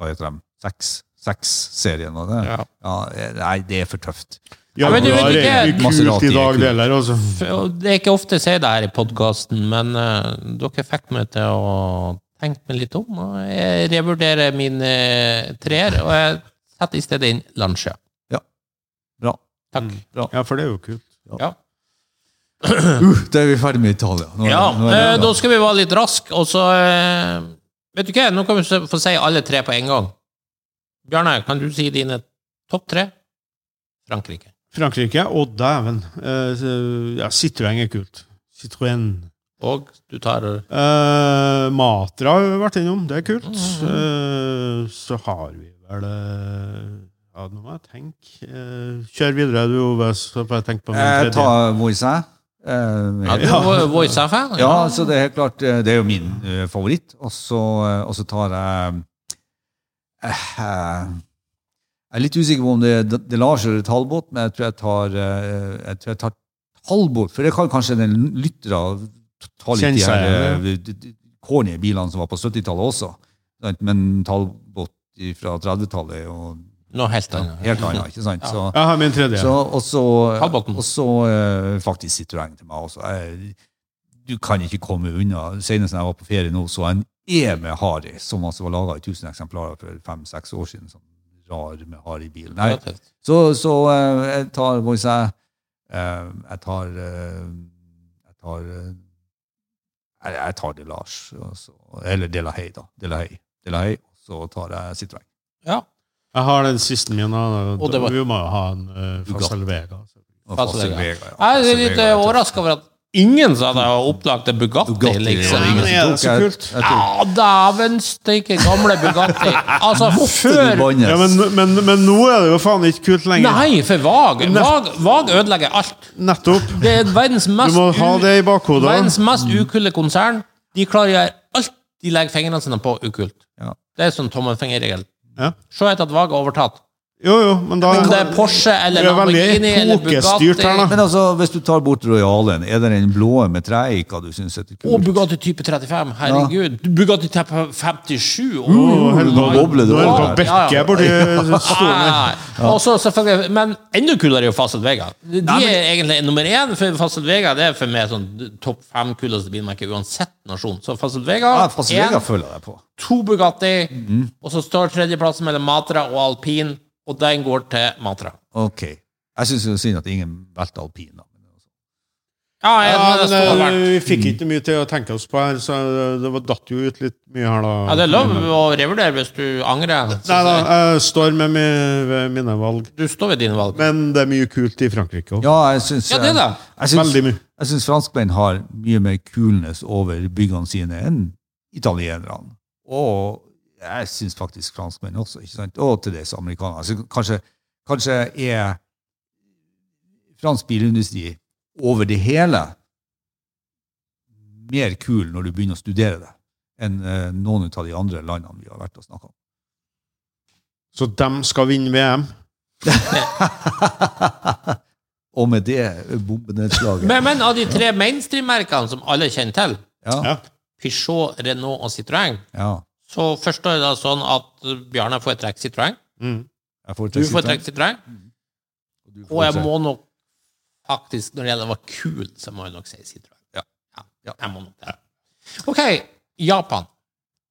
Hva heter de? Seks? Seks-serien av det? Ja. eh, nei, det er for tøft. Ja, men du vet Jaguar ikke- er ikke kult Maserati i er dag, kult. det heller. altså. For- og Det er ikke ofte jeg sier det her i podkasten, men eh, dere fikk meg til å tenke meg litt om. Og jeg revurderer min uh, treer, og jeg setter i stedet inn Lancia. Bra. Takk. Mm, Ja, for det er jo kult. Ja. Uh, da er vi ferdig med Italia. Nå er det- Ja, nå er det eh, bra. da skal vi være litt rask, og så eh, Vet du hva, nå kan vi se- få si alle tre på en gang. Bjarne, kan du si dine topp tre? Frankrike. Frankrike, å dæven. Eh, så- ja, Citroën er kult. Citroën. Og du tar Eh, Matra har vi vært innom, det er kult. Eh, så har vi vel eh, Ja, nå må jeg tenke. Eh, kjør videre, du Ove, så får jeg tenke på min Jeg tredje. tar Moisin. ja, Eh, du Ja. er Voice fan ja, så det er helt klart eh, Det er jo min eh, favoritt. Og så eh, og så tar jeg eh, eh, Jeg er litt usikker på om det er D- Delage eller Talbot, men jeg tror jeg tar, eh, jeg tror jeg tar Talbot. For det kan kanskje den lyttere ta litt Kjenne de her seg eh, d- d- corny bilene som var på 70-tallet også. sant? Men Talbot fra 30-tallet er jo Noe helt annet. helt annet, ikke sant? Så, Jeg har min tredje. så, og så, Halvbotn. og så eh, faktisk Citroën til meg også. Jeg, du kan ikke komme unna. Senest da jeg var på ferie nå, så jeg en E med Harry, som altså var laga i 1000 eksemplarer for fem-seks år siden. Sånn rar med Harry-bil. Nei, Så, så eh, jeg tar Hva skal jeg si? Eh, Jeg tar eh, Jeg tar eh, jeg, jeg tar De Lars, og så- eller De La Haye, da. De La Haye. De La Haye, Så tar jeg Citroën. Ja. Jeg har den siste min. da. Og det var- Vi må jo ha en uh, fra Bugatti. Salvega. Og Fast Fasel Vega. Vega, ja. Jeg Fasel er litt eh, Vega, jeg tar- overraska over at ingen som hadde oppdaget en Bugatti, Bugatti, liksom. var det ingen Nei, men er det som tok. så Jeg- kult? jeg tok- Ja, dæven steike gamle Bugatti. Altså, Til før Bannes. Ja, men, men, men nå er det jo faen ikke kult lenger. Nei, for Vag Vag, vag ødelegger alt. Nettopp. Det er verdens Du mest, må ha u- det i bakhodet. verdens mest ukulde konsern. De klarer å gjøre alt de legger fingrene sine på, ukult. Ja. Det er sånn tommelfingerregel. Ja. Se etter at Vag har overtatt. Jo, jo, men da Om det er Porsche eller Det er veldig Lamborghini eller epokestyrt Bugatti her, da. Men altså, hvis du tar bort Royalen, er det den blå med treika du syns er kult? Og Bugatti type 35, herregud. Bugatti type 57. og- Nå holder på- Bobler det nå holder over her. på å Ja, ja. bekke borti stolen her. Ah, og så selvfølgelig, Men enda kulere er jo Fasel Vega. De er egentlig nummer én, for Fasel Vega det er for meg sånn topp fem kuleste bilmerke uansett nasjon. Så Fasel Ja, Vega, Fasel én, Vega følger jeg deg på. to Bugatti, og så står tredjeplassen mellom Matra og Alpin, og den går til Matra. Ok. Jeg syns det er synd at ingen valgte alpin. da. Ja, jeg, Ja, det, men står eh, verdt. Vi fikk ikke mye til å tenke oss på her, så eh, det var- datt jo ut litt mye her, da. ja, det er lov å revurdere hvis du angrer. Så- Nei da, jeg står med mi- ved mine valg. Du står ved dine valg. Men det er mye kult i Frankrike òg. Ja, jeg syns Ja, det da. Jeg syns, Veldig mye. jeg syns franskmenn har mye mer coolness over byggene sine enn italienerne. Og jeg syns faktisk franskmenn også, ikke sant? og til dels amerikanere. Så kanskje, kanskje er fransk bilindustri over det hele mer kul når du begynner å studere det, enn eh, noen av de andre landene vi har vært og snakka om. Så dem skal vinne VM. og med det bombenedslaget. Men, men av de tre mainstream-merkene som alle kjenner til, Ja, Ja. Peugeot, Renault og Citroën, ja. så forstår jeg det sånn at Bjarne får et trekk Citroën, Mm. Jeg du får et trekke trekk Citroën, Du får og jeg trekke. må nok faktisk, når det gjelder hva kult, så må jeg nok si Citroën. Ja. ja jeg må nok det. Ok, Japan.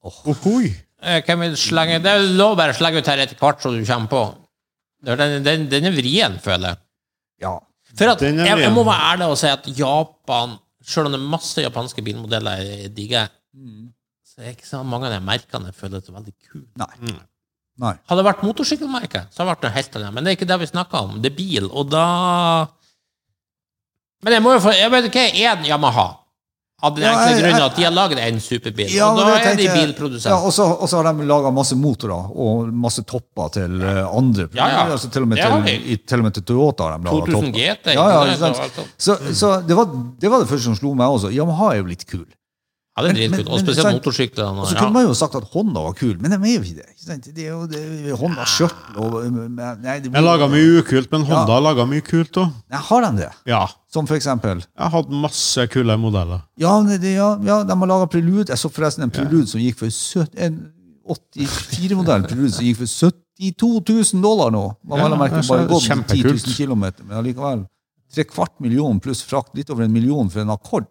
Ohoi. Eh, Hvem vil slenge Det er lov bare å slenge ut her etter hvert så du kommer på. Det er Den, den, den er vrien, føler jeg. Ja. For at, Den er jeg, jeg vrien. må være ærlig og si at Japan, selv om det er masse japanske bilmodeller jeg digger, så er ikke så mange av de merkene jeg føler det er veldig kult. Nei. Mm. Nei. Hadde det vært motorsykkelmerke, så hadde det vært noe helt annet. Men det er ikke det vi snakker om. Det er bil, og da Men jeg må jo få Jeg vet ikke, er en Yamaha? Av den Ja, enkle jeg- grunn jeg- at de har lagd en superbil. Ja, og men da det er de tenker jeg- Ja, bilprodusenter. og så og så har de laga masse motorer og masse topper til eh, andre. Ja, ja. Altså, til, og med Det har til, de. i, til og med til Toyota har de laga 2000 topper. GT. Ja, ja, ikke ikke sant? sant? Så, Mm. så det, var, det var det første som slo meg også. Yamaha er jo litt kul. Ja, det er Men- dritkult. men- Og spesielt men- motorsyklene. Og så ja. kunne man jo sagt at Honda var kul, men de er jo ikke det. Ikke sant? Det er jo det, er Honda skjørt og nei, det, Jeg laga mye ukult, men Honda laga mye kult òg. Nei, Har de det? Ja. Som for eksempel Jeg hadde masse kule modeller. Ja, men det, ja, ja de har laga Prelude. Jeg så forresten en Prelude som gikk for søt- en 84-modell Prelude som gikk for 72 000 dollar nå. Man har Ja, merket jeg bare så- gått 10 kjempekult. 000 kilometer, men allikevel. Tre kvart million pluss frakt, litt over en million for en akkord.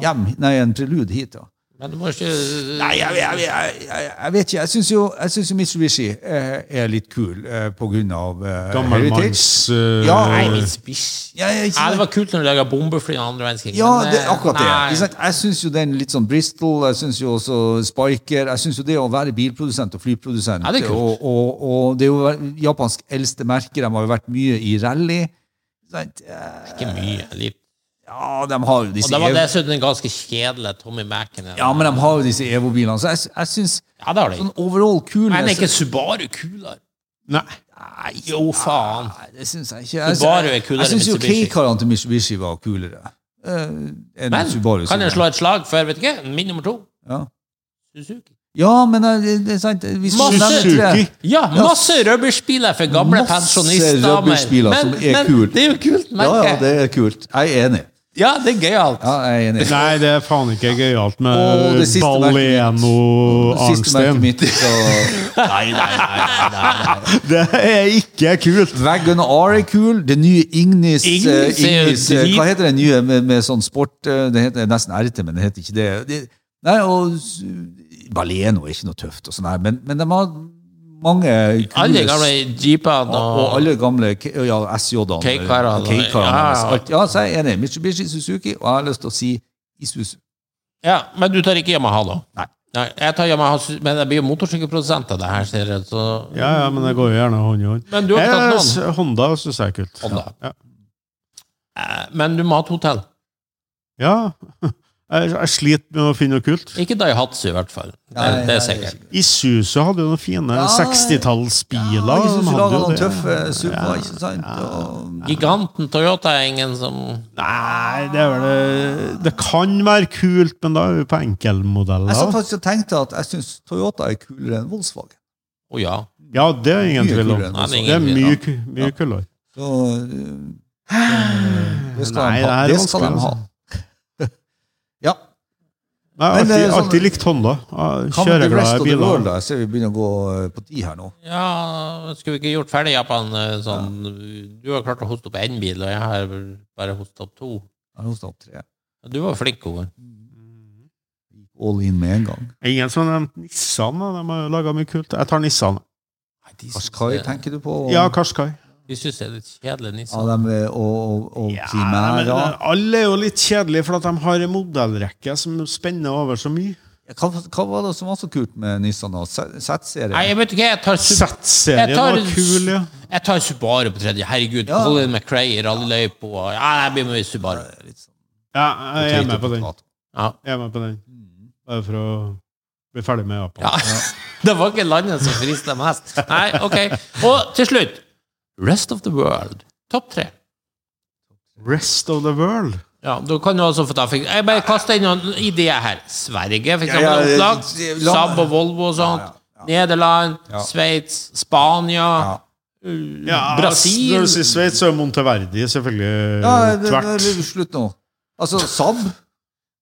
Hjem, nei, en Prelude hit, ja. Men du må ikke Nei, jeg, jeg, jeg, jeg, jeg vet ikke. Jeg syns jo, jeg synes jo Mitsubishi eh, er litt kul eh, på grunn av eh, Gammelmanns eh, Ja, Nei, jeg- Mitsubishi. Ja, jeg, Ja, det var kult når du laga bombefly i andre verdenskrig. Ja, men, det, eh, akkurat det. nei. Ikke sant? Jeg syns jo den litt sånn Bristol, jeg syns jo også Spiker Jeg syns jo det å være bilprodusent og flyprodusent Ja, det er kult. og, og, og det er jo ver- Japansk eldste merke. De har jo vært mye i rally. ikke sant? Eh, Ikke mye. Litt. Ja, de har jo Og disse det var Evo, dessuten en ganske kjedelig Tommy Macken. ja, men de har jo disse Evo-bilene. Så jeg, jeg syns Ja, det har de. sånn overall Men er coolness ikke Subaru kulere? Nei. Nei, Jo, faen. Nei, det syns jeg ikke. Jeg, Subaru er jeg, kulere jeg syns jo enn Mitsubishi. K-karene til Mitsubishi var kulere. eh, enn Men Subaru. kan sine. jeg slå et slag for vet ikke, min nummer to? Ja. Suzuki. ja, men eh, det, det er sant vi skulle nevne tre. Suzuki. Ja, masse rubbersbiler for gamle Masse pensjonister. men- rubbersbiler men- som er men kult. Det er jo kult, Ja, merker ja, jeg. det er kult. Jeg er enig. Ja, det er gøyalt. Ja, jeg er enig. Nei, eh, det er faen ikke gøyalt Og med det siste merket Baleno Siste merket Arnstein. mitt så... Nei, nei, nei. nei, nei. Det er ikke kult! Wagon R er kul. Det nye Ignis, eh, Ignis er jo Ignis eh, drit- Hva heter det nye med, med sånn sport eh, Det heter nesten RT, men det heter ikke det. det nei, og s- Baleno er ikke noe tøft, og sånn her, men, men de har mange Alle kule gamle jeepene og, og, og alle gamle K- ja, Ah. SJ-ene. K-karene. Ja, K-karene, ja. alt. Ja, så jeg er enig. Mitsubishi Suzuki, og jeg har lyst til å si Isuzu. Ja, Men du tar ikke Yamaha, da? Nei. jeg tar Yamaha, Su- men det blir jo motorsykkelprodusent av det her, ser jeg. Så... Ja, ja, men det går jo gjerne hånd i hånd. Men du har ikke Jeg tatt noen? s- Honda syns jeg er kult. Honda. Ja. Eh, Men du må ha et hotell. ja. Jeg, jeg sliter med å finne noe kult. Ikke Daihatsu, i hvert fall. Det, Nei, det nei, er sikkert. Isuzu hadde jo noen fine Ja, 60-tallsbiler. Ja, de Isuzu hadde laga jo noen det. tøffe supper, ikke sant? Og, Giganten Toyota er ingen som Nei, det er vel det Det kan være kult, men da er jeg vi på satt enkeltmodeller. faktisk og tenkte at jeg syns Toyota er kulere enn Volkswagen. Å ja. Ja, det er ingen Mye tvil om. Altså, kulere enn Nei, det er Volkswagen. ingen Det er tvil om. mye, ku- mye kulere. Så, eh, det skal Nei, de ha. det er Det skal de vanskelig, ha. Ja. Nei, Men det alltid, er sånn- alltid likt Honda. Ja, Come to the rest Kjøreglade of the world, biler. da. Jeg ser vi begynner å gå eh, på de her nå. Ja, skulle vi ikke gjort ferdig Japan eh, sånn Du har klart å hoste opp én bil, og jeg har bare hosta opp to. Jeg har hostet opp tre. Du var flink, Håvard. All in med en gang. Ingen som har nevnt Nissan. da. De har laga mye kult. Jeg tar Nissan. Nei, de Askai tenker du på? Ja, Qashqai. De syns det er litt kjedelig Ja, Nissan. de, og, og, og Ja, men øh, Primera. det- alle er jo litt kjedelige, for at de har en modellrekke som spenner over så mye. Hva, hva var det som var så kult med Nissan? og Z- Z-serien? Nei, jeg vet ikke, jeg tar Sub- Z-serien Jeg tar- var kul, ja. Jeg tar Subaru på tredje. Herregud, Ja. Colin McRae i rallyløypa. og- Ja, jeg blir med i Subaru. Litt sånn ja. Jeg er med på den. potet. Ja. Jeg er med på den. Bare for å bli ferdig med Japan. Ja. Det var ikke landet som frista mest. Nei, ok. Og til slutt Rest of the World. Topp tre. Rest of the world. Ja, du kan jo også få ta fik- Jeg bare kaster inn noen ideer her. Sverige, for eksempel. Ja, ja, opplag. ja, ja. Saab og Volvo og sånt. Nederland, Ja. Sveits, Spania. Ja. uh, Ja, Brasil. Når du sier Sveits, så er Monteverdi selvfølgelig Ja, det, det, tvert. det, slutt nå. Altså, Saab,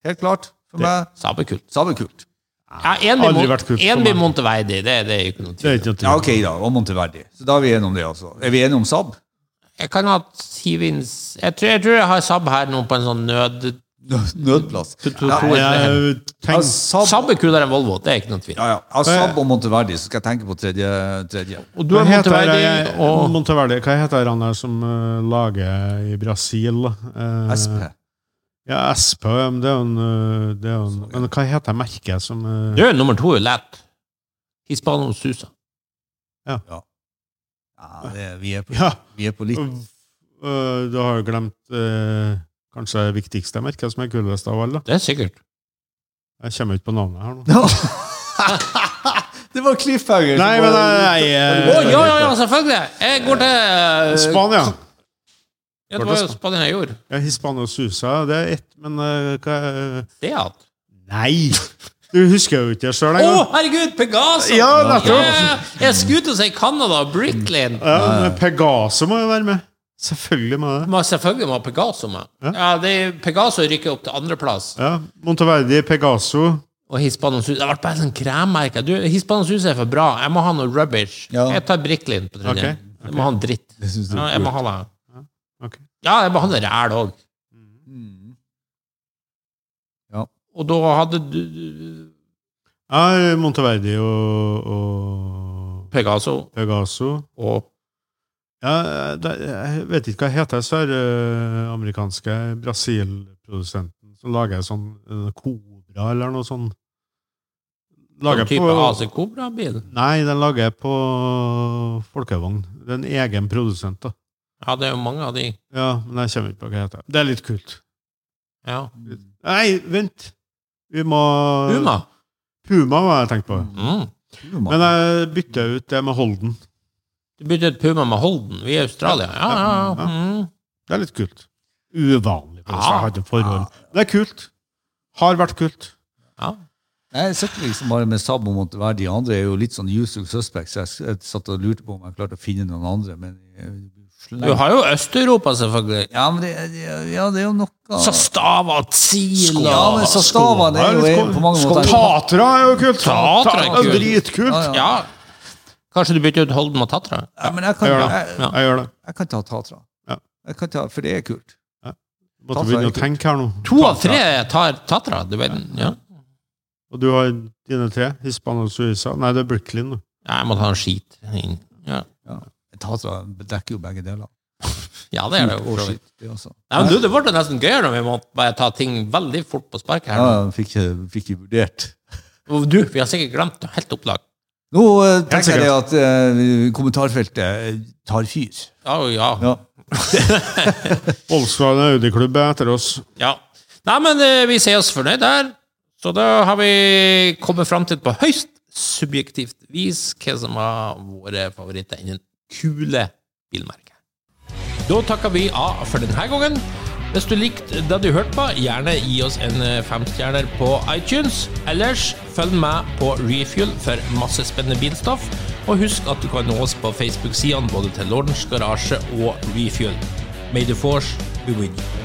helt klart, for meg. Saab er kult. Saab er kult. Ja, en Aldri blir Mon- vært kult for en meg. blir Monteverdi. Det, det er ikke noe tvil. Det er ikke noe tvil. Ja, ok, da. Og Monteverdi. Så da er vi enige om det, altså. Er vi enige om Saab? Jeg kan ha Sivins jeg tror, jeg tror jeg har Saab her nå på en sånn nød... Nø- Nødplass. To, to, Nei, to, tre. Jeg Ja, tenkte Saab, Saab er kulere enn Volvo, det er ikke noen tvil. ja, ja. Ja, Eh. Saab og Monteverdi, så skal jeg tenke på tredje. tredje. Og du er Hva heter jeg- Monteverdi og Monteverdi. Hva heter han der som eh, lager i Brasil? Uh, SP. Ja, SP. men Det er jo en, eh, det er jo en Men hva heter merket som eh, Du, nummer to er lett. Hispano Susa. Ja, det, vi, er på, Ja! vi er på litt eh, du har jo glemt eh, kanskje det viktigste merket, som er kulest av alle. da. Det er sikkert. Jeg kommer ikke på navnet her nå. Det var cliffhanger. Nei, men nei, Å, eh, ja, ja, ja, selvfølgelig! Jeg går til Spania. Ja, det var jo Spania jeg gjorde. Ja, Hispano Susa, det er ett, men eh, hva er- Det er at Nei! Du husker jo ikke det sjøl Å, engang. herregud! Pegaso! Ja, nettopp. Ja, jeg skulle til å si Canada og Bricklin. Ja, men Pegaso må jo være med. Selvfølgelig må det. Men selvfølgelig må ha Pegaso med. Ja, det er Pegaso rykker opp til andreplass. Ja, Monteverdi, Pegaso Og Hispano Sus. Det ble bare sånn kremmerke. Du, Hispano Sus er for bra. Jeg må ha noe rubbish. Ja. Jeg tar Bricklin på tredje. Ok, Jeg må ha en dritt. Det synes du Ja, er jeg må kult. ha det. ok. Ja, jeg må ha det ræl òg. Mm. Og da hadde du du- Ja, Monteverdi og, og Pegaso Pegaso. og Ja, det, jeg vet ikke hva det heter, søramerikanske Brasil-produsenten som lager sånn eh, Cobra eller noe sånn. sånn Lager type på AC Cobra-bil. Nei, den lager jeg på folkevogn. Det er en egen produsent, da. Ja, det er jo mange av de. Ja, men jeg kommer ikke på hva det heter. Det er litt kult. Ja. Nei, vent! Vi må Uma. Puma var jeg tenkt på. Mm. Puma. Men eh, jeg bytta ut det med Holden. Du bytter ut Puma med Holden. Vi er i Australia. Ja, ja, ja. Mm. Det er litt kult. Uvanlig for oss å Ja. ha et forhold. Det er kult. Har vært kult. ja. Jeg sitter liksom bare med Saab og Monteverdi. Andre er jo litt sånn usual suspects. Jeg s- Jeg satt og lurte på om jeg klarte å finne noen andre, men jeg- Du har jo Øst-Europa, selvfølgelig. Ja, men det, det- ja, det er jo noe Sastava, Tsila Ja, men Sastavan er jo en- på mange måter Tatra er jo kult! Tatra er kult. Dritkult! Ja, Ja. Kanskje du bytter ut Holden med Tatra? Ja, men jeg kan, Jeg gjør jeg, det. Jeg gjør det. jeg kan ta Tatra. Ja. Jeg kan ta, for det er kult. Måtte Tatra er begynne å kult. tenke her nå. To av tre tar Tatra. Du vet, ja. Og du har dine tre? Hispano Suiza? Nei, det er Brooklyn. nå. Ja, jeg må ta en skit inn. Ja, Tatra dekker jo begge deler. ja det er det jo. Og for så vidt. skitt, det også. Nei, men du, det ble nesten gøyere når vi måtte bare ta ting veldig fort på sparket her. nå. Ja, fikk ikke fikk ikke vurdert. Og Du, vi har sikkert glemt noe helt opplag. Nå eh, tenker jeg sikkert. det at eh, kommentarfeltet eh, tar fyr. Ja, ja. Ja. Volkswagen Audi-klubb er etter oss. ja. Nei, men eh, vi sier oss fornøyd der. Så da har vi kommet fram til på høyst subjektivt vis hva som var våre favoritter innen kule bilmerker. Da takker vi av for denne gangen. Hvis du likte det du hørte på, gjerne gi oss en eh, femstjerner på iTunes. Ellers følg med på Refuel for masse spennende bilstoff. Og husk at du kan nå oss på Facebook-sidene både til Lordens Garasje og Refuel. May the force be with you.